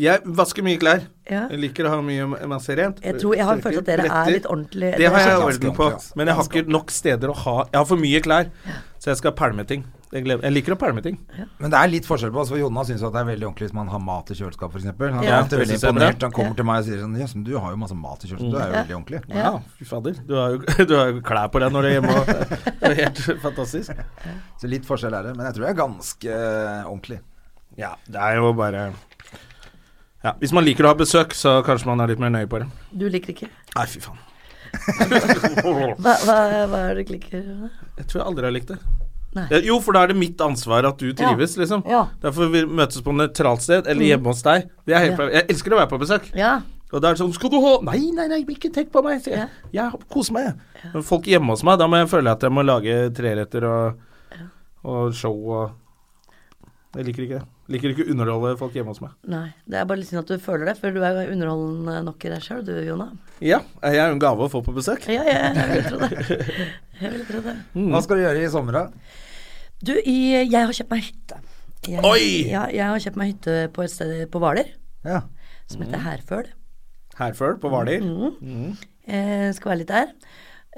Jeg vasker mye klær.
Ja.
Jeg liker å ha mye masse rent.
Jeg tror jeg har en
Tørker,
følelse at dere
bretter.
er litt ordentlig
Det har jeg
ganske
orden på,
ordentlig, altså.
men jeg har ikke nok steder å ha Jeg har for mye klær, så jeg skal pælme ting. Jeg, gleder- jeg liker å pælme ting.
Men det er litt forskjell på oss, for Jonna syns at det er veldig ordentlig hvis man har mat i kjøleskapet, f.eks. Han er
Ja.
alltid veldig
Det synes jeg er
imponert.
bra.
Han kommer til meg og sier sånn Jøss, men du har jo masse mat i kjøleskapet, du er jo veldig ordentlig.
Wow, fy fader. Du har, jo, [laughs] du har jo klær på deg når du er
[laughs]
hjemme. og- Det er helt fantastisk.
Så litt forskjell er det. Men jeg tror jeg er ganske eh, ordentlig.
Ja, det er jo bare ja, Hvis man liker å ha besøk, så kanskje man er litt mer nøye på det.
Du liker ikke?
Nei, fy faen.
Hva, hva, hva er det du klikker på?
Jeg tror jeg aldri har likt det.
Nei.
Eh, Jo, for da er det mitt ansvar at du trives, liksom.
Ja. Mm.
Derfor vi møtes på nøytralt sted, eller hjemme hos deg. Det er helt, perfekt. Jeg elsker å være på besøk.
ja.
Og da er det sånn 'Skal du ha Nei, nei, nei, ikke tenk på meg. sier Jeg, jeg koser meg, jeg. Men folk hjemme hos meg, da må jeg føle at jeg må lage treretter og, og show og Jeg liker ikke det. Liker ikke å underholde folk hjemme hos meg.
Nei. Det er bare litt synd at du føler det, for du er jo underholdende nok i deg sjøl, du, Jona.
Ja, jeg er jo en gave å få på besøk.
Ja, ja, jeg vil tro det. Jeg vil tro det.
Hva skal du gjøre i sommer, da?
Du, i, jeg har kjøpt meg hytte. Jeg,
Oi!
Ja, jeg har kjøpt meg hytte på et sted på Hvaler
Ja.
som
Mm.
heter Herføl.
Herfør, på Hvaler.
Eh, skal være litt der.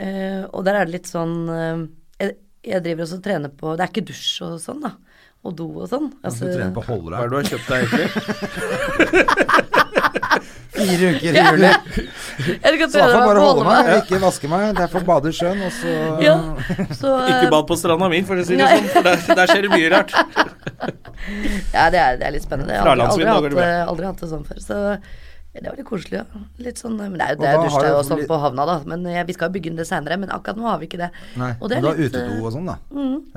Eh, og der er det litt sånn eh, jeg, jeg driver også og trener på Det er ikke dusj og sånn, da. Og do og sånn.
Altså, du trener på
Hva er det
Hollerud.
du har kjøpt deg [laughs] egentlig?
Fire uker i
[laughs]
juli.
jeg kan
Så da får jeg
trene meg
bare
på å
holde meg, ikke vaske meg. Derfor bade i sjøen, og så [laughs]
Ja, så, eh,
Ikke bad på stranda mi, for å si det
Nei.
sånn, for der, der skjer det [laughs] mye rart.
Ja, det er, det er litt spennende. Jeg har aldri,
Fralandsvind, da går
aldri,
det
hatt, eh, aldri hatt det sånn før. Så det var litt koselig, ja. Litt sånn, eh, men det er jo,
Og
det
da
er jo
har
dusj der
jo
og sånn
litt-
på havna, da. Men eh, vi skal jo bygge den det seinere. Men akkurat nå har vi ikke det.
Nei,
Og det
men
er
du har
litt,
utedo
eh,
og sånn, da.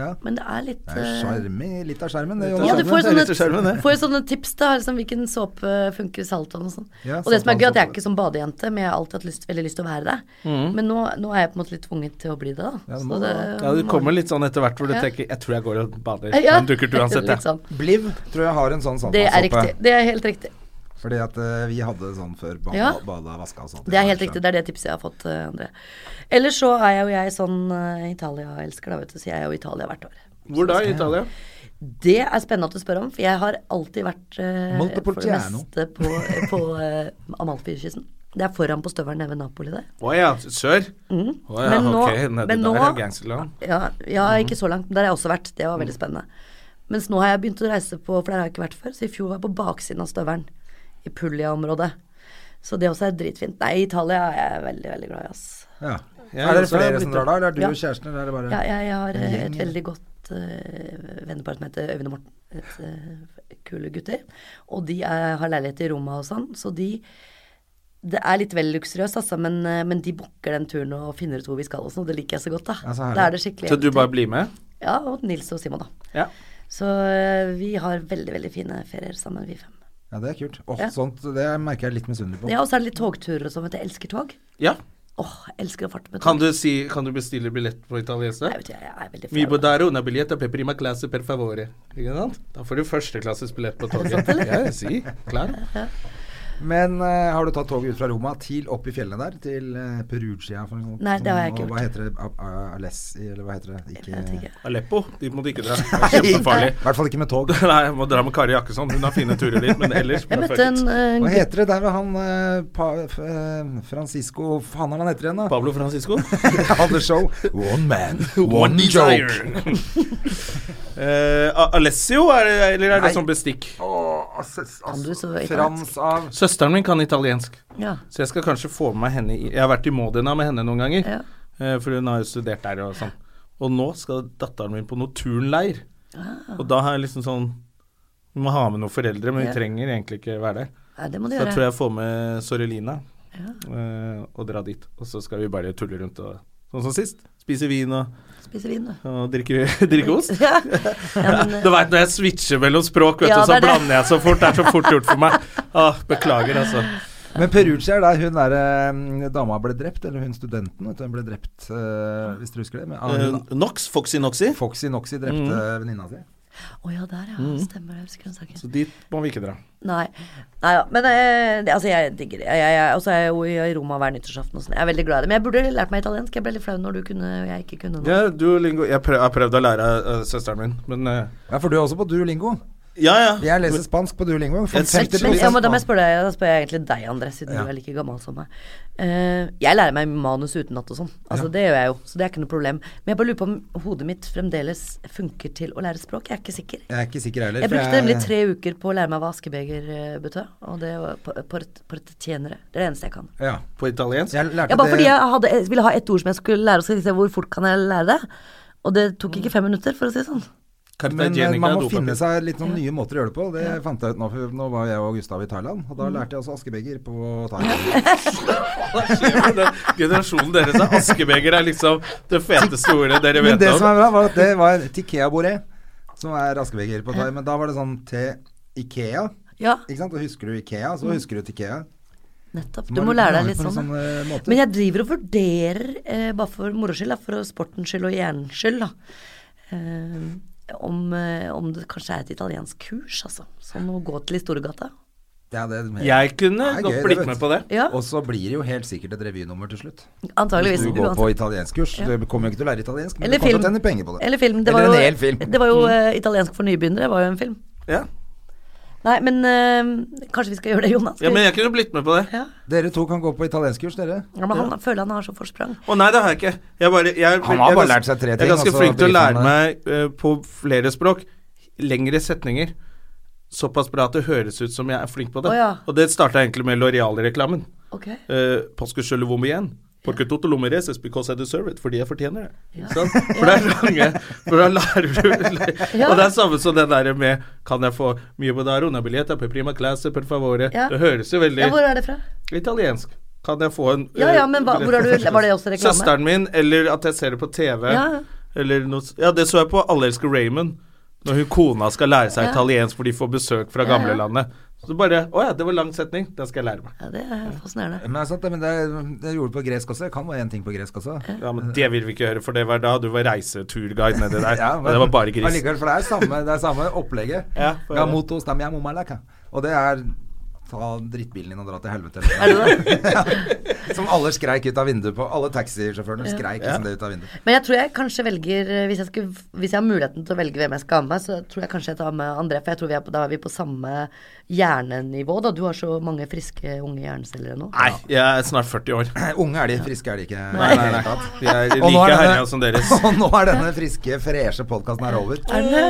Ja.
Men det er litt
Det er
eh,
skjerm i, litt av skjermen, det.
Litt av
Jonas.
ja, du
Det
får
er
sånne,
litt skjermen, det.
får sånne tips, da. Liksom, hvilken såpe funker i saltvann og sånn.
Ja,
og det som
saltvann,
er gøy, er at jeg
saltvann.
er ikke som badejente, men jeg har alltid hatt lyst, veldig lyst til å være det.
Mm.
Men nå, nå er jeg på en måte litt tvunget til å bli det, da.
Ja, det
Så
må det.
Ja, Det kommer litt sånn etter hvert hvor du
Ja.
tenker 'Jeg tror jeg går og bader'.
Eh, Ja,
Den dukker du uansett, jeg.
litt sånn.
Bliv tror jeg har en sånn
Det er riktig.
saltvannsåpe.
Det er helt riktig.
Fordi at eh, vi hadde sånn før. Bada,
Ja.
bada vaska og sånt.
Det er helt riktig. Det er det tipset jeg har fått, eh, André. Ellers så er jo jeg sånn eh, Italia-elsker, da, vet du. Så jeg er jo i Italia hvert år.
Hvor da, i Italia?
Det er spennende at du spør om, for jeg har alltid vært eh, for det
Montepulciano.
meste på, på eh, Amalfi-kysten. Det er foran på støvelen nede ved Napoli der. Mhm.
Å ja, sør? Å ja,
Men
ok.
nå-
Nedi
men nå-
der Mhm. er gangsterland.
Ja, ja ikke så langt. men Der har jeg også vært. Det var veldig
Mhm.
spennende. Mens nå har jeg begynt å reise på, for der har jeg ikke vært før, så i fjor var jeg på baksiden av støvelen. I Puglia-området. Så det også er dritfint. Nei, Italia er jeg veldig, veldig glad i, ass.
Ja.
Ja,
er
jeg
det
også har
flere
blitt
som
det.
drar da, eller er du
Ja.
og kjæresten, eller er det bare
Ja, jeg, jeg har
En
eh,
gjeng,
et
eller?
veldig godt uh, vennepar som heter Øyvind og Morten. Et, eh, kule gutter. Og de er, har leilighet i Roma og sånn, så de Det er litt vel luksuriøst, altså, men, eh, men de booker den turen og finner ut hvor vi skal og sånn, og det liker jeg så godt, da.
Ja, så herlig.
da er det skikkelig
Så du bare blir med?
Ja, og Nils og Simon, da.
Ja.
Så eh, vi har veldig, veldig fine ferier sammen, vi fem.
Ja, det er kult. Åh,
Ja.
sånt, Det merker jeg litt misunnelig på.
Ja, og så er det litt togturer og sånn, vet du. Jeg elsker tog.
ja.
Åh, jeg elsker å farte med
Kan
tog.
du, si, kan du bestille billett på italiensk?
Jeg vet ikke, jeg er veldig
Vi
flau.
bodare una biljetta per prima classe per favore. Ikke sant? Da får du førsteklasses billett på toget. Ja, si. Klar.
Men eh, har du tatt toget ut fra Roma til opp i fjellene der? Til eh, Perugia? For noe,
Nei, det har
og
jeg ikke gjort.
Hva heter det? A- A- Alessi, eller hva heter det?
Jeg vet
[laughs]
ikke.
Aleppo, dit må du [laughs] ikke dra. Det er
I
kjempefarlig.
hvert fall ikke med tog.
[laughs] Nei, jeg må dra med Kari Jakkesson. Hun har fine turer dit, men ellers
Jeg
bare
møtte
fuck
en,
it.
eh,
Hva
gutt-
heter det der ved han eh, pa, f, eh, Francisco Faen, hva er det han heter igjen, da?
Pablo Francisco.
[laughs] Han hadde show. One man, one joke.
[laughs] Eh, A- Alessio, er det, eller er
Nei.
det sånn bestikk?
Åh, altså,
Kan du
altså,
så italiensk?
Frans av
Søsteren min kan italiensk,
Ja.
så jeg skal kanskje få med meg henne i Jeg har vært i Modena med henne noen ganger,
Ja.
eh, for hun har jo studert der og sånn. Og nå skal datteren min på noe turnleir. Og da har jeg liksom sånn Vi må ha med noen foreldre, men vi
Ah. Ja.
trenger egentlig ikke være der.
Nei, det må du
Så da
gjøre.
tror jeg jeg får med Sorelina eh, og dra dit. Og så skal vi bare tulle rundt og sånn som sist. Spise vin og,
Spise vin, du.
og drikke, [laughs] drikke ost.
Ja. Ja, men,
Du veit når jeg switcher mellom språk, vet
Ja,
du, så
det er det.
blander jeg så fort. Det er så fort gjort for meg. Åh, beklager, altså.
Men Perugia er der hun der eh, dama ble drept, eller hun studenten, vet du, hun ble drept, eh, hvis dere husker det. Men, ah, hun,
Eh, mm. Nox, Foxy Noxy.
Foxy Noxy drepte venninna si.
Å ja, der ja. Stemmer det. jeg Husker den
Så
saken.
dit må vi ikke dra.
Nei. Nei ja. Men eh, det, altså, jeg digger det. Jeg- jeg- jeg- Og så er jeg jo i Roma hver nyttårsaften og sånn. Jeg er veldig glad i det. Men jeg burde lært meg italiensk. Jeg ble litt flau når du kunne og jeg ikke kunne det.
Ja, Duolingo Jeg prøv, har prøvd å lære eh, søsteren min, men eh,
Ja, for du er også på Duolingo.
Ja, ja.
Jeg leser spansk på Duolingo. For
Jeg synes-
50
Men jeg må, da må
spansk.
jeg spørre deg, da spør jeg egentlig deg, André, siden
Ja.
du er like gammel som meg. Eh, jeg lærer meg manus utenat og sånn. Altså, Det gjør jeg jo, så det er ikke noe problem. Men jeg bare lurer på om hodet mitt fremdeles funker til å lære språk. Jeg er ikke sikker.
Jeg er ikke sikker heller.
Jeg
for
brukte nemlig tre uker på å lære meg hva askebeger eh, betød. Og det var por- port- portetjenere. Det er det eneste jeg kan.
Ja.
På italiensk.
Jeg lærte
Ja, bare fordi
det
jeg hadde, jeg
Mm.
ville ha ett ord som jeg skulle lære, og så tenkte jeg hvor fort kan jeg lære det? Og det tok ikke fem minutter, for å si det sånn.
Men
Cartagena
eh, man
er
må
dopapir.
finne seg litt noen nye måter å gjøre det på. Det fant jeg ut nå, for nå var jeg og Gustav i Thailand, og
Mm.
da lærte jeg også askebeger på Thailand.
[laughs] Hva skjer med den generasjonen deres? da? Askebeger er liksom det feteste ordet dere vet
Men det som
om.
er bra, var at det var tikea boré, som er askebeger på thai. Men da var det sånn til Ikea.
Ja,
Ikke sant? Og husker du Ikea, så husker du Tikea.
nettopp.
Så
Mm. Du
man
må
lage
lære deg litt
på en
sånn. da.
eh, måte.
Men jeg driver og vurderer, eh, bare for moro skyld, da, for å- sportens skyld og hjernens skyld, da. Eh, om, eh, om det kanskje er et italiensk kurs, altså. Sånn å gå til i Storgata.
ja, det, er mer-
Jeg kunne
Det er gøy,
godt
det,
blitt
vet
med
du.
på det.
Ja,
Og så blir det jo helt sikkert et revynummer til slutt.
antageligvis.
Hvis du går på
uansett.
italienskkurs.
Ja.
Du kommer jo ikke til å lære italiensk, men
Eller
du kommer til å
film.
tjene penger på det.
Eller film. Det var
Eller
jo,
en hel film.
Det var jo eh, italiensk for nybegynnere, var jo en film.
Ja.
Nei, men eh, kanskje vi skal gjøre det, Jonas?
ja, men jeg kunne blitt med på det.
ja.
Dere to kan gå på italienskkurs, dere.
Ja, men han føler han har så forsprang.
Å nei, det har jeg ikke. Jeg bare, jeg,
Han har
jeg er
bare
gans-
lært seg tre ting, altså,
Jeg er ganske
og så
flink til å
driter
lære
han
meg eh, på flere språk. Lengre setninger. Såpass bra at det høres ut som jeg er flink på det.
Å ja.
Og det starta egentlig med Loreal-reklamen.
Ok.
Eh, parce que je le vommer igjen. Porque toto lo mereces because I deserve it. Fordi jeg fortjener det.
Ja.
Sånn? For det er lange For da lærer du Og det er samme som den derre med Kan jeg få mye på daro? Una billetta per prima classe per favore.
Ja.
Det høres jo veldig
Ja, hvor er det fra?
italiensk. Kan jeg få en
Ja,
eh,
ja, men hva- hvor er du- var det også reklame?
Søsteren min, eller at jeg ser det på TV.
Ja.
Eller noe s- Ja, det så jeg på Alle elsker Raymond. Når hun kona skal lære seg
Ja.
italiensk for de får besøk fra
Ja, ja.
gamlelandet. Så bare Å ja, det var lang setning. Den skal jeg lære meg.
Ja, det er fascinerende.
Men det er sant, det, men det, det gjorde du på gresk også. Jeg kan bare én ting på gresk også.
Ja, men Det vil vi ikke høre, for det var da du var reiseturguide nedi der.
[laughs] Ja,
og det var bare gris.
Allikevel, for det er samme, det er samme opplegget.
Ja, for-
Gamoto stamia mumalaka. Og det er ta drittbilen din og dra til helvete.
Er det
[laughs]
det?
Som alle skreik ut av vinduet på. Alle taxisjåførene skreik liksom det ut av vinduet.
Men jeg tror jeg kanskje velger eh, hvis jeg, skulle, hvis jeg har muligheten til å velge hvem jeg skal ha med, så tror jeg kanskje jeg tar med André. For jeg tror vi er på, da er vi på samme hjernenivå. Da. Du har så mange friske unge hjerneceller nå.
Nei, jeg er snart 40 år.
[clears throat] Unge er de, friske er de ikke.
Nei, nei, nei. De er
Og nå
like
er denne-
herja som deres.
[laughs] Og nå er denne friske, freshe podkasten her over.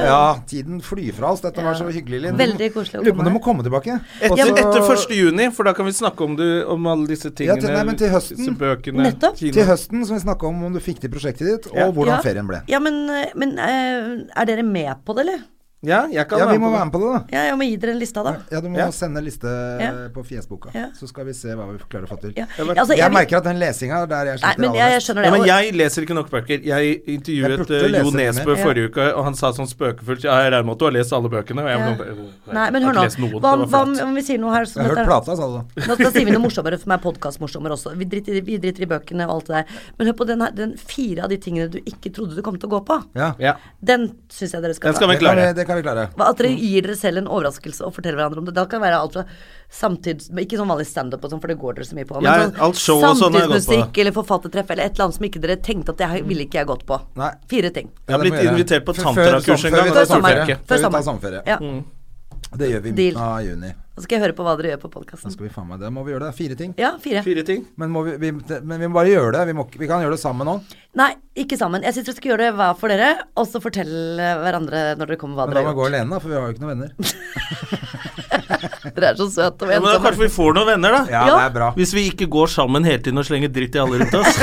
Ja, tiden flyr fra oss. Dette var så hyggelig, Linn.
Veldig koselig å
Lurer på om du
komme
må komme tilbake. Og
Etter,
så-
etter 1. juni, for da kan vi snakke om, du, om alle disse
Ja,
tingene.
til- nei, men til høsten.
Disse bøkene.
Nettopp.
kino.
Til høsten så vil vi snakke om om du fikk til prosjektet ditt, og
Ja.
hvordan ferien ble.
Ja, men, eh, men eh, er dere med på det, eller?
Ja, jeg kan
Ja, vi
være
må
med på
være
det.
med på det, da.
Ja, jeg må gi dere en liste, da.
Ja, du må
Ja.
sende liste eh,
Ja.
på fjesboka.
Ja.
Så skal vi se hva vi klarer å få til.
Ja.
Jeg vet-
Altså,
jeg
jeg, vil-
merker at den lesinga er der jeg
Nei,
sliter
men jeg, jeg skjønner det.
Ja, men
Og-
jeg leser ikke nok bøker. Jeg
Jeg
intervjuet
burde
eh, Jo
lese litt
Nesbø
mer.
forrige uke, og han sa sånn spøkefullt Ja, jeg regner med at du har lest alle bøkene. Og jeg,
Ja.
bare, «Åh, nei,
Nei, men
jeg
hør
har ikke lest
nå.
noen,
Hva,
det var
hva om
flaut».
om vi sier noe her som
Jeg har
dette-
hørt plata, sa du. da.
Nå skal sier vi noe morsommere som er podkastmorsommere også. Vi driter, i- vi driter i bøkene og alt det der. Men hør på den her, den fire av de tingene du ikke trodde du kom til å gå på.
Ja.
Ja,
Den syns jeg dere skal
Den skal vi
ta.
Det, kan vi,
klare.
det kan vi klare.
Hva- At dere gir dere selv en overraskelse og forteller hverandre om det. Da kan det være alt fra samtids... men Ikke sånn vanlig standup og sånn, for det går dere så mye på.
Ja,
sånn
alt show og sånn har jeg gått på.
samtidsmusikk eller forfattertreff eller et eller annet som ikke dere tenkte at det her ville ikke jeg gått på.
Nei.
Fire ting.
Jeg har
det må
blitt
gjøre.
invitert på
Før-
tanterakurs
før-
en gang,
Før
og
vi
det
tar
turte jeg
sommerferie.
ikke.
Før vi
Før
tar
sommer.
sommerferie.
Ja.
Mm.
Det gjør vi i
Deal.
midten av juni.
Så skal jeg høre på hva dere gjør på
Da
podkasten.
skal vi faen meg det. Må vi gjøre det? Fire ting.
Ja, fire.
Fire ting.
Men, må vi, vi, men vi må bare gjøre det. Vi, må, ikke- vi kan gjøre det sammen nå.
Nei, ikke sammen. Jeg syns dere skal gjøre det hver for dere, og så fortelle hverandre når dere kommer hva
Men da
dere
må
har
vi gå
gjort.
alene, da, for vi har jo ikke noen venner.
Dere er så søte
Ja,
og
men da kanskje
ensomme.
vi får noen venner, da.
Ja, det
Ja.
er bra.
Hvis vi ikke går sammen hele tiden og slenger dritt i alle rundt [laughs] oss.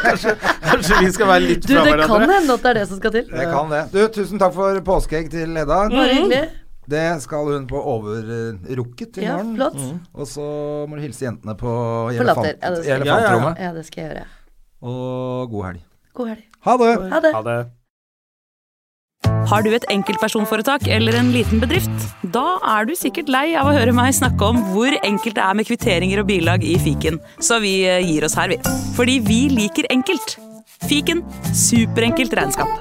kanskje, kanskje vi skal være litt
Du,
fra
det kan
hverandre.
hende at det er det som skal til.
Jeg kan det. Du, tusen takk for påskeegg til Hedda.
Mm. Bare hyggelig.
Det skal hun på overrukket i
Ja,
morgen. Mm.
flott.
Og så må du hilse jentene på
Forlater.
elefant,
Ja, det skal jeg.
elefantrommet.
Ja, det skal jeg gjøre.
Og god helg.
God helg.
Ha det!
Ha det.
Ha det.
Har du et enkeltpersonforetak eller en liten bedrift? Da er du sikkert lei av å høre meg snakke om hvor enkelt det er med kvitteringer og bilag i fiken, så eh, vi gir oss her, vi. Fordi vi liker enkelt. Fiken superenkelt regnskap.